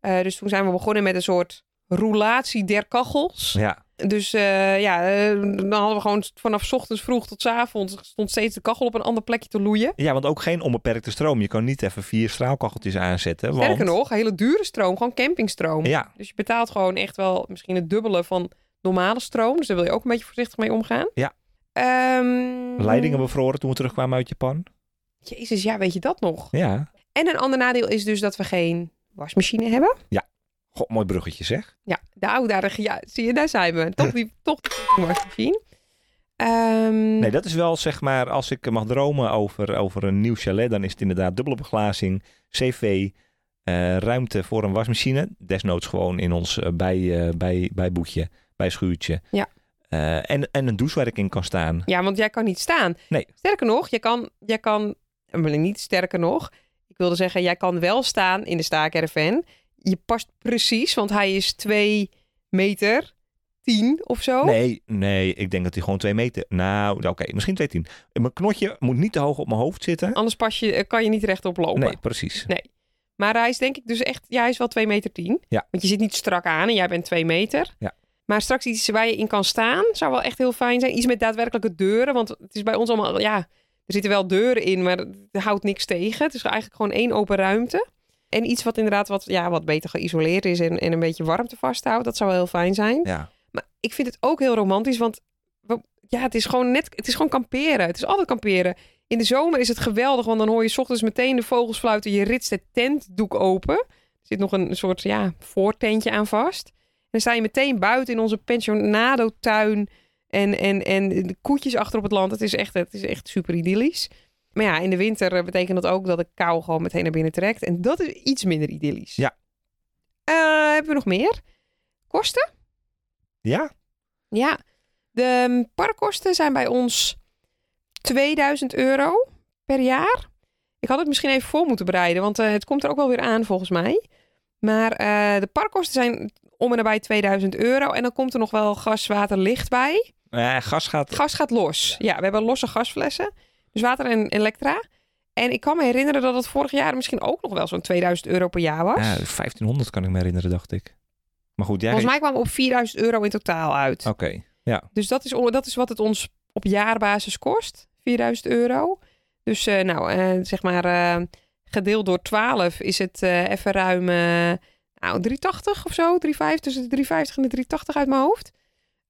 Speaker 2: Eh, dus toen zijn we begonnen met een soort roulatie der kachels.
Speaker 1: Ja,
Speaker 2: Dus eh, ja, eh, dan hadden we gewoon vanaf 's ochtends vroeg tot 's avonds stond steeds de kachel op een ander plekje te loeien.
Speaker 1: ja want ook geen onbeperkte stroom. Je kan niet even vier straalkacheltjes aanzetten. Want,
Speaker 2: Sterker nog, hele dure stroom, gewoon campingstroom.
Speaker 1: Ja,
Speaker 2: Dus je betaalt gewoon echt wel misschien het dubbele van normale stroom. Dus daar wil je ook een beetje voorzichtig mee omgaan.
Speaker 1: Ja.
Speaker 2: Ehm,
Speaker 1: leidingen bevroren toen we terugkwamen uit Japan.
Speaker 2: Jezus, ja, weet je dat nog?
Speaker 1: Ja.
Speaker 2: En een ander nadeel is dus dat we geen wasmachine hebben.
Speaker 1: God, mooi bruggetje zeg.
Speaker 2: Ja, de oudarige, ja, zie je, daar zijn we. Toch die, toch die fucking wasmachine. Ehm,
Speaker 1: Nee, dat is wel zeg maar, als ik mag dromen over, over een nieuw chalet, dan is het inderdaad dubbele beglazing, cv, eh, ruimte voor een wasmachine. Desnoods gewoon in ons eh, bij, eh, bij, bij boekje, bij schuurtje.
Speaker 2: Ja.
Speaker 1: Eh, en, en een douche waar ik in kan staan.
Speaker 2: Ja, want jij kan niet staan.
Speaker 1: Nee.
Speaker 2: Sterker nog, jij kan, jij kan, eh, maar niet sterker nog, ik wilde zeggen, jij kan wel staan in de staakerven. Je past precies, want hij is 2 meter 10 of zo.
Speaker 1: Nee, nee, ik denk dat hij gewoon twee meter. Nou, oké, misschien twee tien. Mijn knotje moet niet te hoog op mijn hoofd zitten.
Speaker 2: Anders pas je, eh, kan je niet rechtop lopen.
Speaker 1: Nee, precies.
Speaker 2: Maar hij is denk ik dus echt, ja, hij is wel 2 meter 10.
Speaker 1: Ja.
Speaker 2: Want je zit niet strak aan en jij bent 2 meter.
Speaker 1: Ja.
Speaker 2: Maar straks iets waar je in kan staan, zou wel echt heel fijn zijn. Iets met daadwerkelijke deuren, want het is bij ons allemaal, ja, er zitten wel deuren in, maar het houdt niks tegen. Het is eigenlijk gewoon één open ruimte. En iets wat inderdaad wat, ja, wat beter geïsoleerd is en, en een beetje warmte vasthoudt, dat zou wel heel fijn zijn.
Speaker 1: Ja.
Speaker 2: Maar ik vind het ook heel romantisch, want we- ja, het is gewoon net, het is gewoon kamperen. Het is altijd kamperen. In de zomer is het geweldig, want dan hoor je 's ochtends meteen de vogels fluiten. Je ritst het tentdoek open. Er zit nog een soort ja, voortentje aan vast. En dan sta je meteen buiten in onze pensionado-tuin. En, en, en de koetjes achter op het land. Het is echt, het is echt super idyllisch. Maar ja, in de winter eh, betekent dat ook dat de kou gewoon meteen naar binnen trekt. En dat is iets minder idyllisch.
Speaker 1: Ja.
Speaker 2: Eh, hebben we nog meer? Kosten?
Speaker 1: Ja?
Speaker 2: Ja, de mm, parkkosten zijn bij ons 2000 euro per jaar. Ik had het misschien even voor moeten bereiden, want eh, het komt er ook wel weer aan volgens mij. Maar eh, de parkkosten zijn om en nabij 2000 euro. En dan komt er nog wel gas, water, licht bij.
Speaker 1: Eh, gas gaat.
Speaker 2: Gas gaat los. Ja, we hebben losse gasflessen. Dus water en elektra. En ik kan me herinneren dat het vorig jaar misschien ook nog wel zo'n 2000 euro per jaar was.
Speaker 1: Ja, dus- 1500 kan ik me herinneren, dacht ik. Maar goed, jij.
Speaker 2: Volgens mij kwamen we op 4000 euro in totaal uit.
Speaker 1: Oké. Ja.
Speaker 2: Dus dat is, on- dat is wat het ons op jaarbasis kost, 4000 euro. Dus eh, nou, eh, zeg maar eh, gedeeld door 12 is het eh, even ruim eh, nou, 380 of zo, 350, tussen de 350 en de 380 uit mijn hoofd.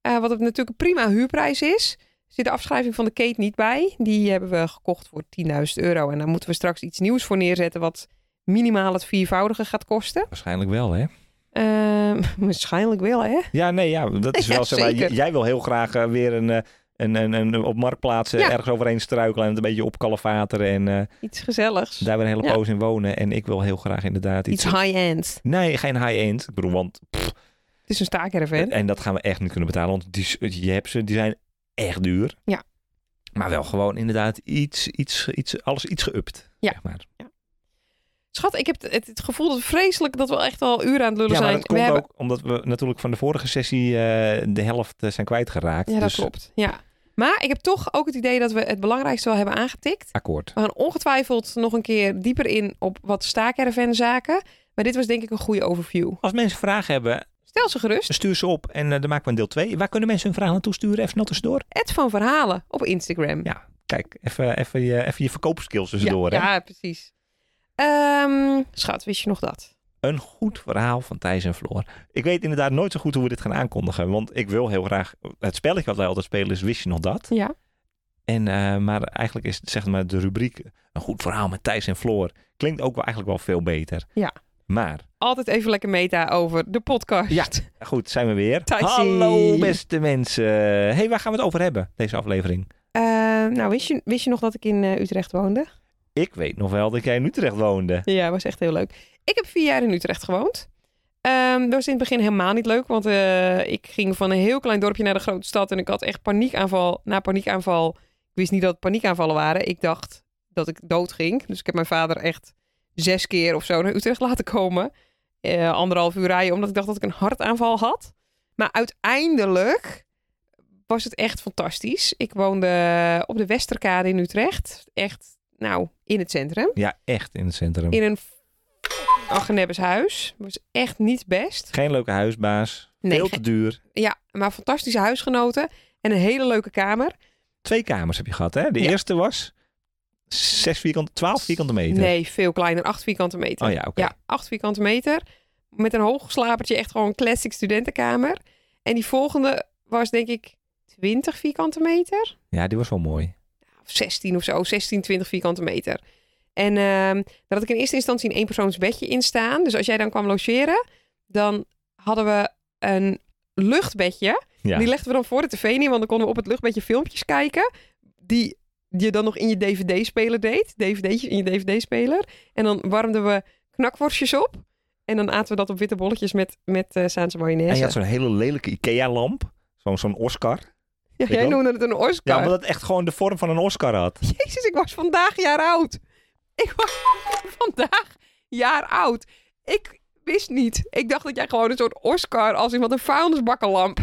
Speaker 2: Eh, wat het natuurlijk een prima huurprijs is. Er zit de afschrijving van de Kate niet bij. Die hebben we gekocht voor 10.000 euro. En daar moeten we straks iets nieuws voor neerzetten wat minimaal het viervoudige gaat kosten.
Speaker 1: Waarschijnlijk wel, hè?
Speaker 2: Eh, waarschijnlijk wel, hè?
Speaker 1: Ja, nee, ja, dat is
Speaker 2: Ja,
Speaker 1: wel zeg maar,
Speaker 2: zeker.
Speaker 1: j- Jij wil heel graag eh, weer een, eh, een, een, een op marktplaatsen
Speaker 2: Ja.
Speaker 1: ergens overheen struikelen en het een beetje opkalefateren en eh,
Speaker 2: Iets gezelligs.
Speaker 1: daar weer een hele
Speaker 2: Ja.
Speaker 1: poos in wonen. En ik wil heel graag inderdaad iets.
Speaker 2: Iets high-end.
Speaker 1: Nee, geen high-end. Ik bedoel, want
Speaker 2: Het is een staakerven.
Speaker 1: en dat gaan we echt niet kunnen betalen, want die, s- je hebt ze, die zijn echt duur. Maar wel gewoon inderdaad iets, iets, iets, alles iets geüpt.
Speaker 2: Ja.
Speaker 1: zeg maar.
Speaker 2: Schat, ik heb het, het gevoel dat vreselijk dat we echt al uren aan het lullen
Speaker 1: ja maar
Speaker 2: zijn.
Speaker 1: dat
Speaker 2: we
Speaker 1: komt
Speaker 2: hebben...
Speaker 1: ook omdat we natuurlijk van de vorige sessie eh, de helft eh, zijn kwijtgeraakt.
Speaker 2: Ja, dat
Speaker 1: dus
Speaker 2: klopt. Ja. Maar ik heb toch ook het idee dat we het belangrijkste wel hebben aangetikt.
Speaker 1: akkoord.
Speaker 2: We gaan ongetwijfeld nog een keer dieper in op wat zaken. Maar dit was denk ik een goede overview.
Speaker 1: Als mensen vragen hebben,
Speaker 2: Stel ze gerust.
Speaker 1: stuur ze op en eh, dan maken we een deel 2. Waar kunnen mensen hun vragen naartoe sturen? Even snel tussendoor.
Speaker 2: Ed van Verhalen op Instagram.
Speaker 1: Ja, Kijk, even, even, je, even je verkoopskills tussendoor.
Speaker 2: ja,
Speaker 1: hè?
Speaker 2: ja, precies. Ehm, schat, wist je nog dat?
Speaker 1: Een goed verhaal van Thijs en Floor. Ik weet inderdaad nooit zo goed hoe we dit gaan aankondigen. Want ik wil heel graag... Het spelletje wat wij altijd spelen is Wist je nog dat?
Speaker 2: Ja.
Speaker 1: En, eh, maar eigenlijk is zeg maar, de rubriek Een goed verhaal met Thijs en Floor... klinkt ook wel eigenlijk wel veel beter.
Speaker 2: Ja.
Speaker 1: Maar
Speaker 2: Altijd even lekker meta over de podcast.
Speaker 1: Ja. goed, zijn we weer.
Speaker 2: Thijsie.
Speaker 1: Hallo beste mensen. hey, waar gaan we het over hebben, deze aflevering?
Speaker 2: Ehm, nou, wist je, wist je nog dat ik in eh, Utrecht woonde?
Speaker 1: Ik weet nog wel dat jij in Utrecht woonde.
Speaker 2: Ja, was echt heel leuk. Ik heb vier jaar in Utrecht gewoond. Ehm, dat was in het begin helemaal niet leuk, want eh, ik ging van een heel klein dorpje naar de grote stad en ik had echt paniekaanval na paniekaanval. Ik wist niet dat het paniekaanvallen waren. Ik dacht dat ik dood ging. Dus ik heb mijn vader echt zes keer of zo naar Utrecht laten komen. Eh, anderhalf uur rijden, omdat ik dacht dat ik een hartaanval had. Maar uiteindelijk was het echt fantastisch. Ik woonde op de Westerkade in Utrecht. Echt, nou, in het centrum.
Speaker 1: Ja, echt in het centrum.
Speaker 2: In een Agnebbes huis. Was echt niet best.
Speaker 1: Geen leuke huisbaas.
Speaker 2: Nee,
Speaker 1: veel
Speaker 2: ge-
Speaker 1: te duur.
Speaker 2: Ja, maar fantastische huisgenoten. En een hele leuke kamer.
Speaker 1: Twee kamers heb je gehad, hè? De
Speaker 2: Ja.
Speaker 1: eerste was 6 vierkante, 12 vierkante meter.
Speaker 2: Nee, veel kleiner. Acht vierkante meter.
Speaker 1: Oh ja, oké.
Speaker 2: Ja, acht vierkante meter. Met een hoog slapertje, echt gewoon een classic studentenkamer. En die volgende was denk ik 20 vierkante meter.
Speaker 1: Ja, die was wel mooi.
Speaker 2: Of 16 of zo, 16, 20 vierkante meter. En ehm daar had ik in eerste instantie een eenpersoonsbedje in staan. Dus als jij dan kwam logeren, dan hadden we een luchtbedje.
Speaker 1: Ja.
Speaker 2: Die legden we dan voor de tv neer, want dan konden we op het luchtbedje filmpjes kijken. Die je dan nog in je dvd-speler deed. DVD'tjes in je dvd-speler. En dan warmden we knakworstjes op. En dan aten we dat op witte bolletjes met, met eh Saanse
Speaker 1: en
Speaker 2: mayonaise.
Speaker 1: je had zo'n hele lelijke IKEA-lamp. Zo'n zo'n Oscar.
Speaker 2: ja, jij
Speaker 1: ook.
Speaker 2: noemde het een Oscar.
Speaker 1: Ja, maar dat echt gewoon de vorm van een Oscar had.
Speaker 2: Jezus, ik was vandaag jaar oud. Ik was vandaag jaar oud. Ik wist niet. Ik dacht dat jij gewoon een soort Oscar als iemand een vuilnisbakkenlamp.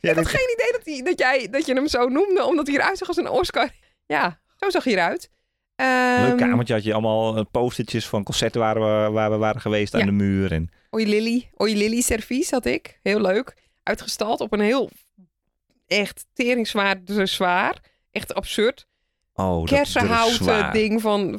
Speaker 1: Ja,
Speaker 2: Ik had
Speaker 1: dat-
Speaker 2: geen idee dat, hij, dat, jij, dat je hem zo noemde, omdat hij eruit zag als een Oscar. Ja, zo zag hij eruit. Ehm,
Speaker 1: Leuk kamertje had je allemaal eh, postertjes van concerten waar we, waar we waren geweest
Speaker 2: Ja.
Speaker 1: aan de muur. En
Speaker 2: Oei Lily. Oei Lily servies had ik. Heel leuk. Uitgestald op een heel echt teringzwaar zwaar. Echt absurd.
Speaker 1: Oh, dat- dat is
Speaker 2: kersenhouten
Speaker 1: zwaar.
Speaker 2: ding van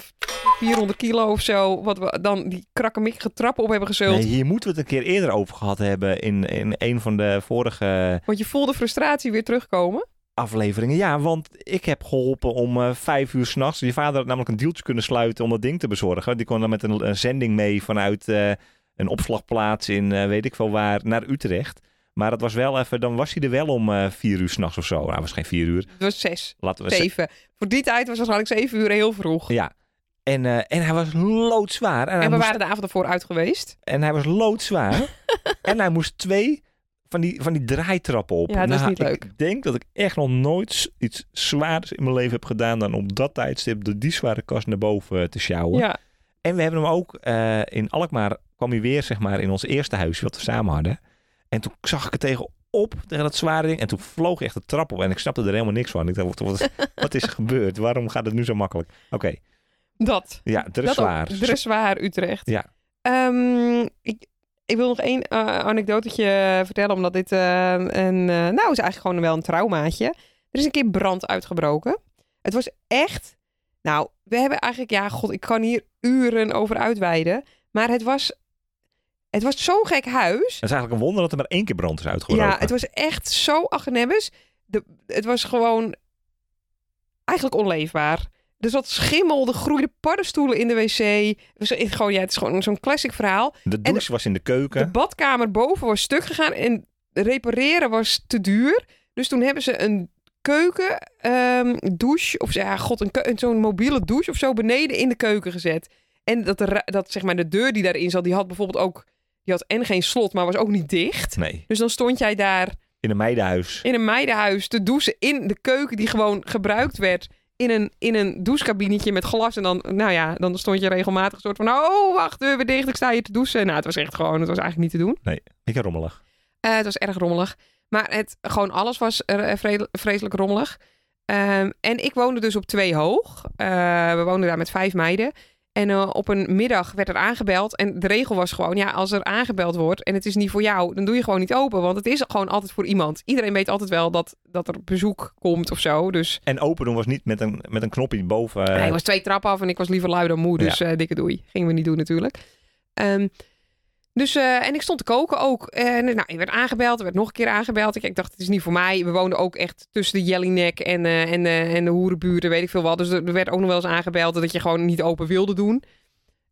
Speaker 2: 400 kilo of zo. Wat we dan die krakkemikkige trappen op hebben gezult.
Speaker 1: Nee, hier moeten we het een keer eerder over gehad hebben in, in een van de vorige
Speaker 2: Want je voelde frustratie weer terugkomen.
Speaker 1: afleveringen. Ja, want ik heb geholpen om eh, vijf uur s'nachts. Je vader had namelijk een deeltje kunnen sluiten om dat ding te bezorgen. Die kon dan met een, een zending mee vanuit eh, een opslagplaats in eh, weet ik veel waar naar Utrecht. Maar dat was wel even, dan was hij er wel om eh, vier uur s'nachts of zo. Nou, was geen vier uur.
Speaker 2: Het was zes,
Speaker 1: Laten we zeggen.
Speaker 2: zeven. Voor die tijd was het waarschijnlijk zeven uur heel vroeg.
Speaker 1: Ja. En, eh, en hij was loodzwaar. En, hij
Speaker 2: en we
Speaker 1: moest
Speaker 2: waren de avond ervoor uit geweest.
Speaker 1: En hij was loodzwaar. en hij moest twee van die, van die draaitrappen op.
Speaker 2: Ja, dat is
Speaker 1: Nou,
Speaker 2: niet leuk.
Speaker 1: Ik denk dat ik echt nog nooit s- iets zwaarders in mijn leven heb gedaan... dan op dat tijdstip door die zware kast naar boven eh, te sjouwen.
Speaker 2: Ja,
Speaker 1: En we hebben hem ook eh, in Alkmaar... kwam hij weer zeg maar, in ons eerste huisje wat we samen hadden. En toen zag ik het tegen op, tegen dat zware ding. En toen vloog echt de trap op en ik snapte er helemaal niks van. Ik dacht, wat, wat, wat is er gebeurd? Waarom gaat het nu zo makkelijk? Oké,
Speaker 2: dat.
Speaker 1: ja, er is
Speaker 2: dat ook.
Speaker 1: zwaar.
Speaker 2: Er is zwaar, Utrecht.
Speaker 1: Ja.
Speaker 2: Ehm, ik, ik wil nog één eh, anekdotetje vertellen, omdat dit eh, een... eh, nou, is eigenlijk gewoon wel een traumaatje. Er is een keer brand uitgebroken. Het was echt... Nou, we hebben eigenlijk... Ja, god, ik kan hier uren over uitweiden. Maar het was... Het was zo'n gek huis.
Speaker 1: Het is eigenlijk een wonder dat er maar één keer brand is uitgebroken.
Speaker 2: Ja, het was echt zo agnebbes. De, het was gewoon eigenlijk onleefbaar. Er zat schimmel, er groeiden paddenstoelen in de wc. Het was echt gewoon, ja, het is gewoon zo'n classic verhaal.
Speaker 1: De douche was in de keuken.
Speaker 2: De badkamer boven was stuk gegaan en repareren was te duur. Dus toen hebben ze een keuken, ehm, douche, of ja, god, een keu- zo'n mobiele douche of zo beneden in de keuken gezet. En dat, de, ra- dat zeg maar de deur
Speaker 1: Hm.
Speaker 2: die daarin zat, die had bijvoorbeeld ook, die had en geen slot, maar was ook niet dicht.
Speaker 1: Nee.
Speaker 2: Dus dan stond jij daar
Speaker 1: in een meidenhuis.
Speaker 2: in een meidenhuis te douchen in de keuken die gewoon gebruikt werd. In een, in een douchekabinetje met glas. En dan, nou ja, dan stond je regelmatig een soort van... Oh, wacht, deur weer dicht, ik sta hier te douchen. Nou, het was echt gewoon, het was eigenlijk niet te doen.
Speaker 1: Beetje rommelig.
Speaker 2: Eh, het was erg rommelig. Maar het, gewoon alles was eh, vre- vreselijk rommelig. Ehm, en ik woonde dus op twee hoog. Eh, we woonden daar met vijf meiden. En eh, op een middag werd er aangebeld. En de regel was gewoon, ja, als er aangebeld wordt en het is niet voor jou, dan doe je gewoon niet open. Want het is gewoon altijd voor iemand. Iedereen weet altijd wel dat, dat er bezoek komt of zo. Dus
Speaker 1: En open doen was niet met een, met een knopje boven. eh,
Speaker 2: hij was twee trappen af en ik was liever lui dan moe. Dus eh, dikke doei. Gingen we niet doen natuurlijk. Ehm, dus, eh, en ik stond te koken ook. En nou, ik werd aangebeld, er werd nog een keer aangebeld. Ik, ik dacht, het is niet voor mij. We woonden ook echt tussen de Jellinek en, eh, en, eh, en de hoerenburen, weet ik veel wat. Dus er er werd ook nog wel eens aangebeld dat je gewoon niet open wilde doen.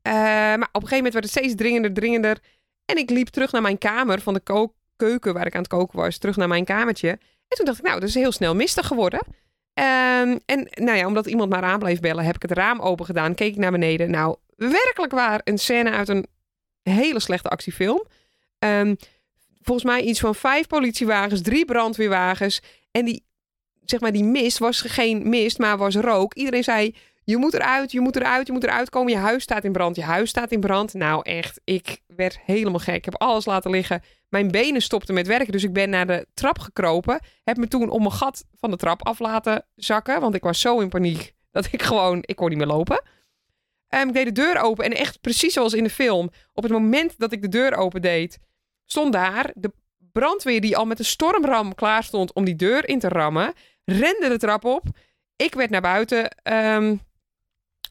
Speaker 2: Eh, maar op een gegeven moment werd het steeds dringender, dringender. En ik liep terug naar mijn kamer van de ko- keuken waar ik aan het koken was, terug naar mijn kamertje. En toen dacht ik, nou, dat is heel snel mistig geworden. Ehm, en nou ja, omdat iemand maar aan bleef bellen, heb ik het raam open gedaan. Keek ik naar beneden. Nou, werkelijk waar een scène uit een hele slechte actiefilm. Ehm, volgens mij iets van vijf politiewagens, drie brandweerwagens. En die, zeg maar, die mist was geen mist, maar was rook. Iedereen zei, je moet eruit, je moet eruit, je moet eruit komen. Je huis staat in brand, je huis staat in brand. Nou echt, ik werd helemaal gek. Ik heb alles laten liggen. Mijn benen stopten met werken, dus ik ben naar de trap gekropen. Heb me toen om mijn gat van de trap af laten zakken. Want ik was zo in paniek dat ik gewoon, ik kon niet meer lopen. Ehm, ik deed de deur open en echt precies zoals in de film. Op het moment dat ik de deur open deed, stond daar de brandweer die al met een stormram klaar stond om die deur in te rammen. Rende de trap op. Ik werd naar buiten ehm,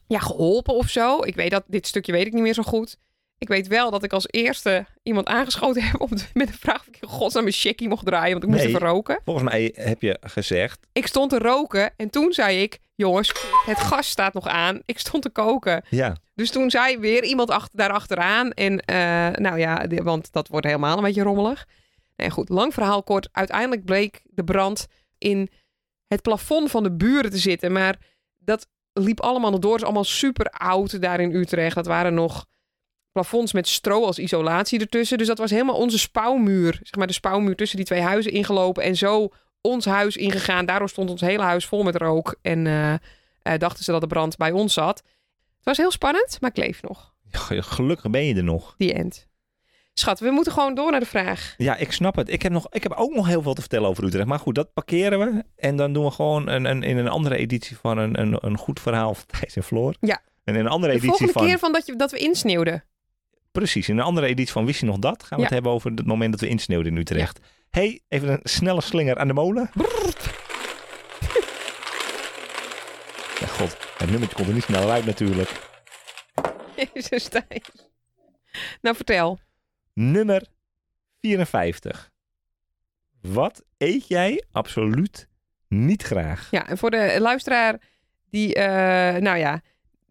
Speaker 2: ja, geholpen of zo. Ik weet dat, dit stukje weet ik niet meer zo goed. Ik weet wel dat ik als eerste iemand aangeschoten heb om te- met de vraag of ik in godsnaam een checkie mocht draaien, want ik moest
Speaker 1: Nee.
Speaker 2: even roken.
Speaker 1: Volgens mij heb je gezegd,
Speaker 2: Ik stond te roken en toen zei ik, jongens, het gas staat nog aan. Ik stond te koken.
Speaker 1: ja,
Speaker 2: Dus toen zei weer iemand achter, daarachteraan. En eh, nou ja, de- want dat wordt helemaal een beetje rommelig. Nee, goed, lang verhaal kort. Uiteindelijk bleek de brand in het plafond van de buren te zitten. Maar dat liep allemaal nog door. Het is allemaal super oud daar in Utrecht. Dat waren nog plafonds met stro als isolatie ertussen. Dus dat was helemaal onze spouwmuur. Zeg maar de spouwmuur tussen die twee huizen ingelopen. En zo ons huis ingegaan. Daardoor stond ons hele huis vol met rook. En eh, eh, dachten ze dat de brand bij ons zat. Het was heel spannend, maar ik leef nog.
Speaker 1: ge- gelukkig ben je er nog.
Speaker 2: Die end. Schat, we moeten gewoon door naar de vraag.
Speaker 1: Ja, ik snap het. Ik heb, nog, ik heb ook nog heel veel te vertellen over Utrecht. Maar goed, dat parkeren we. En dan doen we gewoon een, een, in een andere editie van een, een, een goed verhaal van Thijs en Floor.
Speaker 2: Ja.
Speaker 1: En in een andere
Speaker 2: De
Speaker 1: editie
Speaker 2: volgende
Speaker 1: van...
Speaker 2: keer van dat, je, dat we insneeuwden.
Speaker 1: Precies, in een andere editie van Wist je nog dat? Gaan we
Speaker 2: Ja.
Speaker 1: het hebben over het moment dat we insneeuwden in Utrecht. hey, even een snelle slinger aan de molen. Ja, god, het nummertje komt er niet snel uit natuurlijk.
Speaker 2: Jezus, Thijs. Nou, vertel.
Speaker 1: Nummer 54. Wat eet jij absoluut niet graag?
Speaker 2: Ja, en voor de luisteraar die, eh, nou ja,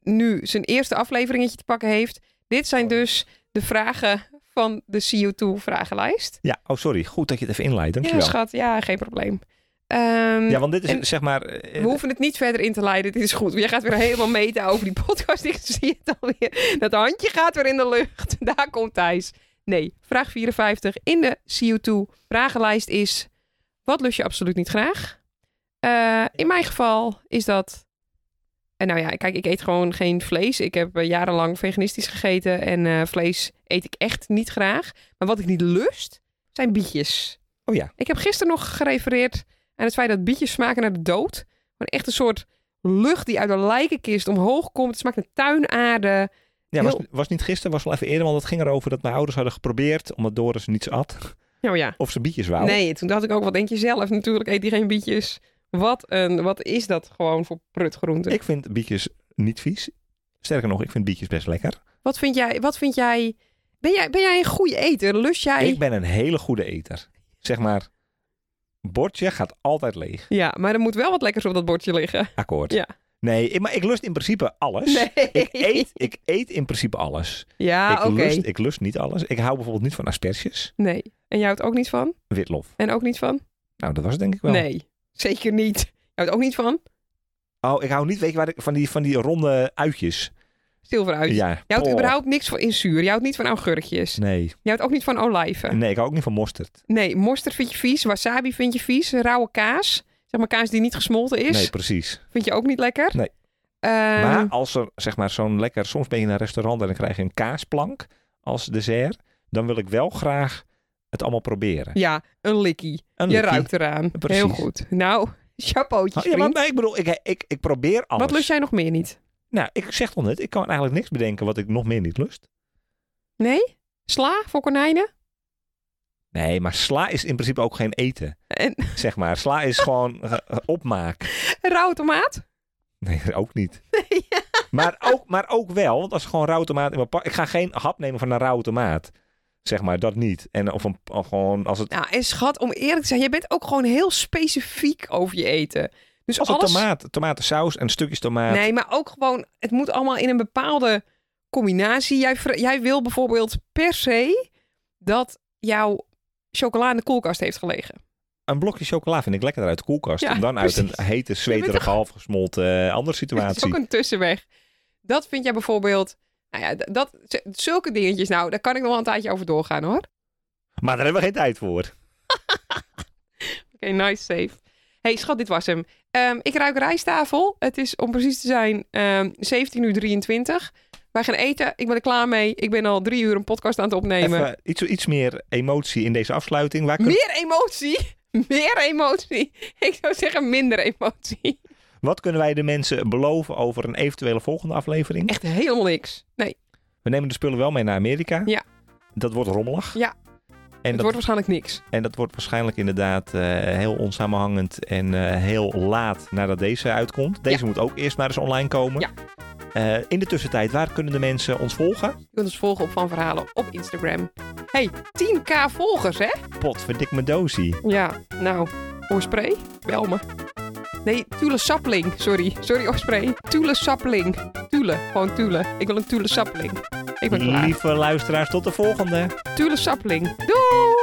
Speaker 2: nu zijn eerste afleveringetje te pakken heeft. Dit zijn dus de vragen van de CO2-vragenlijst.
Speaker 1: Ja, oh sorry, goed dat je het even inleidt,
Speaker 2: Ja,
Speaker 1: dankjewel. Ja,
Speaker 2: schat. Ja, geen probleem. Ehm,
Speaker 1: want dit is
Speaker 2: En-
Speaker 1: zeg maar...
Speaker 2: we
Speaker 1: eh,
Speaker 2: hoeven het niet verder in te leiden. Dit is goed. Jij gaat weer helemaal meten over die podcast. Ik zie het alweer. Dat handje gaat weer in de lucht. Daar komt Thijs. Nee, vraag 54 in de CO2 vragenlijst is... Wat lust je absoluut niet graag? Eh, in mijn geval is dat... En nou ja, kijk, ik eet gewoon geen vlees. Ik heb eh, jarenlang veganistisch gegeten. En eh, vlees eet ik echt niet graag. Maar wat ik niet lust, zijn bietjes.
Speaker 1: Oh ja.
Speaker 2: Ik heb gisteren nog gerefereerd aan het feit dat bietjes smaken naar de dood. Maar echt een soort lucht die uit een lijkenkist omhoog komt. Het smaakt naar tuinaarde.
Speaker 1: Ja, was,
Speaker 2: heel-
Speaker 1: was niet gisteren, was wel even eerder, want het ging erover dat mijn ouders hadden geprobeerd, omdat Doris niets at,
Speaker 2: Nou ja.
Speaker 1: of ze bietjes wou.
Speaker 2: Nee, toen dacht ik ook, wat denk je zelf? Natuurlijk eet die geen bietjes. Wat, een, wat is dat gewoon voor prutgroente?
Speaker 1: Ik vind bietjes niet vies. Sterker nog, ik vind bietjes best lekker.
Speaker 2: Wat vind jij... Wat vind jij ben, jij ben jij een goede eter? Lust jij...
Speaker 1: Ik ben een hele goede eter. Zeg maar, bordje gaat altijd leeg.
Speaker 2: Ja, maar er moet wel wat lekkers op dat bordje liggen.
Speaker 1: Akkoord.
Speaker 2: Ja.
Speaker 1: Nee, ik- maar ik lust in principe alles.
Speaker 2: Nee.
Speaker 1: Ik, eet, ik eet in principe alles.
Speaker 2: Ja,
Speaker 1: ik,
Speaker 2: oké.
Speaker 1: lust, ik lust niet alles. Ik hou bijvoorbeeld niet van asperges.
Speaker 2: Nee. En jij houdt ook niet van?
Speaker 1: Witlof.
Speaker 2: En ook niet van?
Speaker 1: Nou, dat was het denk ik wel.
Speaker 2: Nee. Zeker niet. Jij houdt ook niet van?
Speaker 1: Oh, ik hou niet, weet je waar ik, van die, van die ronde uitjes.
Speaker 2: Stil vooruit.
Speaker 1: Ja,
Speaker 2: Je houdt
Speaker 1: poh.
Speaker 2: überhaupt niks van in zuur. Je houdt niet van augurkjes.
Speaker 1: Nee.
Speaker 2: Je houdt ook niet van olijven.
Speaker 1: nee, ik hou ook niet van mosterd.
Speaker 2: Nee, mosterd vind je vies. Wasabi vind je vies. Rauwe kaas. Zeg maar kaas die niet gesmolten is.
Speaker 1: Nee, precies.
Speaker 2: Vind je ook niet lekker.
Speaker 1: Nee.
Speaker 2: Ehm,
Speaker 1: maar als er zeg maar zo'n lekker, soms ben je in een restaurant en dan krijg je een kaasplank als dessert, dan wil ik wel graag het allemaal proberen.
Speaker 2: ja, een likkie.
Speaker 1: Een
Speaker 2: Je
Speaker 1: likkie.
Speaker 2: ruikt eraan.
Speaker 1: Precies.
Speaker 2: Heel goed. Nou, chapeautjes,
Speaker 1: Oh, ja, maar
Speaker 2: vriend.
Speaker 1: nee, ik bedoel, ik, ik, ik probeer alles.
Speaker 2: Wat lust jij nog meer niet?
Speaker 1: Nou, ik zeg toch net, ik kan eigenlijk niks bedenken wat ik nog meer niet lust.
Speaker 2: Nee? Sla voor konijnen?
Speaker 1: Nee, maar sla is in principe ook geen eten,
Speaker 2: En
Speaker 1: zeg maar. Sla is gewoon eh, eh, opmaak.
Speaker 2: rauwe tomaat?
Speaker 1: Nee, ook niet. maar, ook, maar ook wel, want als ik gewoon rauwe tomaat in mijn pak... Ik ga geen hap nemen van een rauwe tomaat, zeg maar, dat niet. En of, een, of gewoon als het,
Speaker 2: Nou, en schat, om eerlijk te zijn, jij bent ook gewoon heel specifiek over je eten. Dus
Speaker 1: als
Speaker 2: alles...
Speaker 1: een tomaat, tomatensaus en stukjes tomaat.
Speaker 2: Nee, maar ook gewoon, het moet allemaal in een bepaalde combinatie. Jij, vra- jij wil bijvoorbeeld per se dat jouw chocola in de koelkast heeft gelegen.
Speaker 1: Een blokje chocola vind ik lekkerder uit de koelkast.
Speaker 2: Ja,
Speaker 1: en dan uit
Speaker 2: precies.
Speaker 1: een hete,
Speaker 2: bent
Speaker 1: zweterige, halfgesmolten eh, andere
Speaker 2: Dat is
Speaker 1: situatie.
Speaker 2: ook een tussenweg. Dat vind jij bijvoorbeeld, nou ja, d- dat, z- zulke dingetjes, nou, daar kan ik nog wel een tijdje over doorgaan hoor.
Speaker 1: Maar daar hebben we geen tijd voor.
Speaker 2: Oké, nice save. hey, schat, dit was hem. Ehm, ik ruik rijsttafel. Het is, om precies te zijn, ehm 17 uur 23. Wij gaan eten. Ik ben er klaar mee. Ik ben al drie uur een podcast aan het opnemen.
Speaker 1: Even iets, iets meer emotie in deze afsluiting. Waar kun-
Speaker 2: Meer emotie. Meer emotie. Ik zou zeggen minder emotie.
Speaker 1: Wat kunnen wij de mensen beloven over een eventuele volgende aflevering?
Speaker 2: Echt helemaal niks. Nee,
Speaker 1: We nemen de spullen wel mee naar Amerika.
Speaker 2: Ja.
Speaker 1: Dat wordt rommelig.
Speaker 2: Ja.
Speaker 1: En
Speaker 2: het
Speaker 1: dat,
Speaker 2: wordt waarschijnlijk niks.
Speaker 1: en dat wordt waarschijnlijk inderdaad eh, heel onsamenhangend en eh, heel laat nadat deze uitkomt. Deze moet ook eerst maar eens online komen.
Speaker 2: Ja.
Speaker 1: Eh, in de tussentijd, waar kunnen de mensen ons volgen?
Speaker 2: Je kunt ons volgen op Van Verhalen op Instagram. hey, 10k volgers, hè?
Speaker 1: Pot, verdik me dozie.
Speaker 2: Ja, nou, Oorspray, bel me. Nee, Tule Sapling, sorry. Sorry, Oorspray. Tule Sapling. Tule, gewoon Tule. Ik wil een Tule Sapling. Ik ben klaar.
Speaker 1: Lieve luisteraars, tot de volgende.
Speaker 2: Tule Sapling. Doei!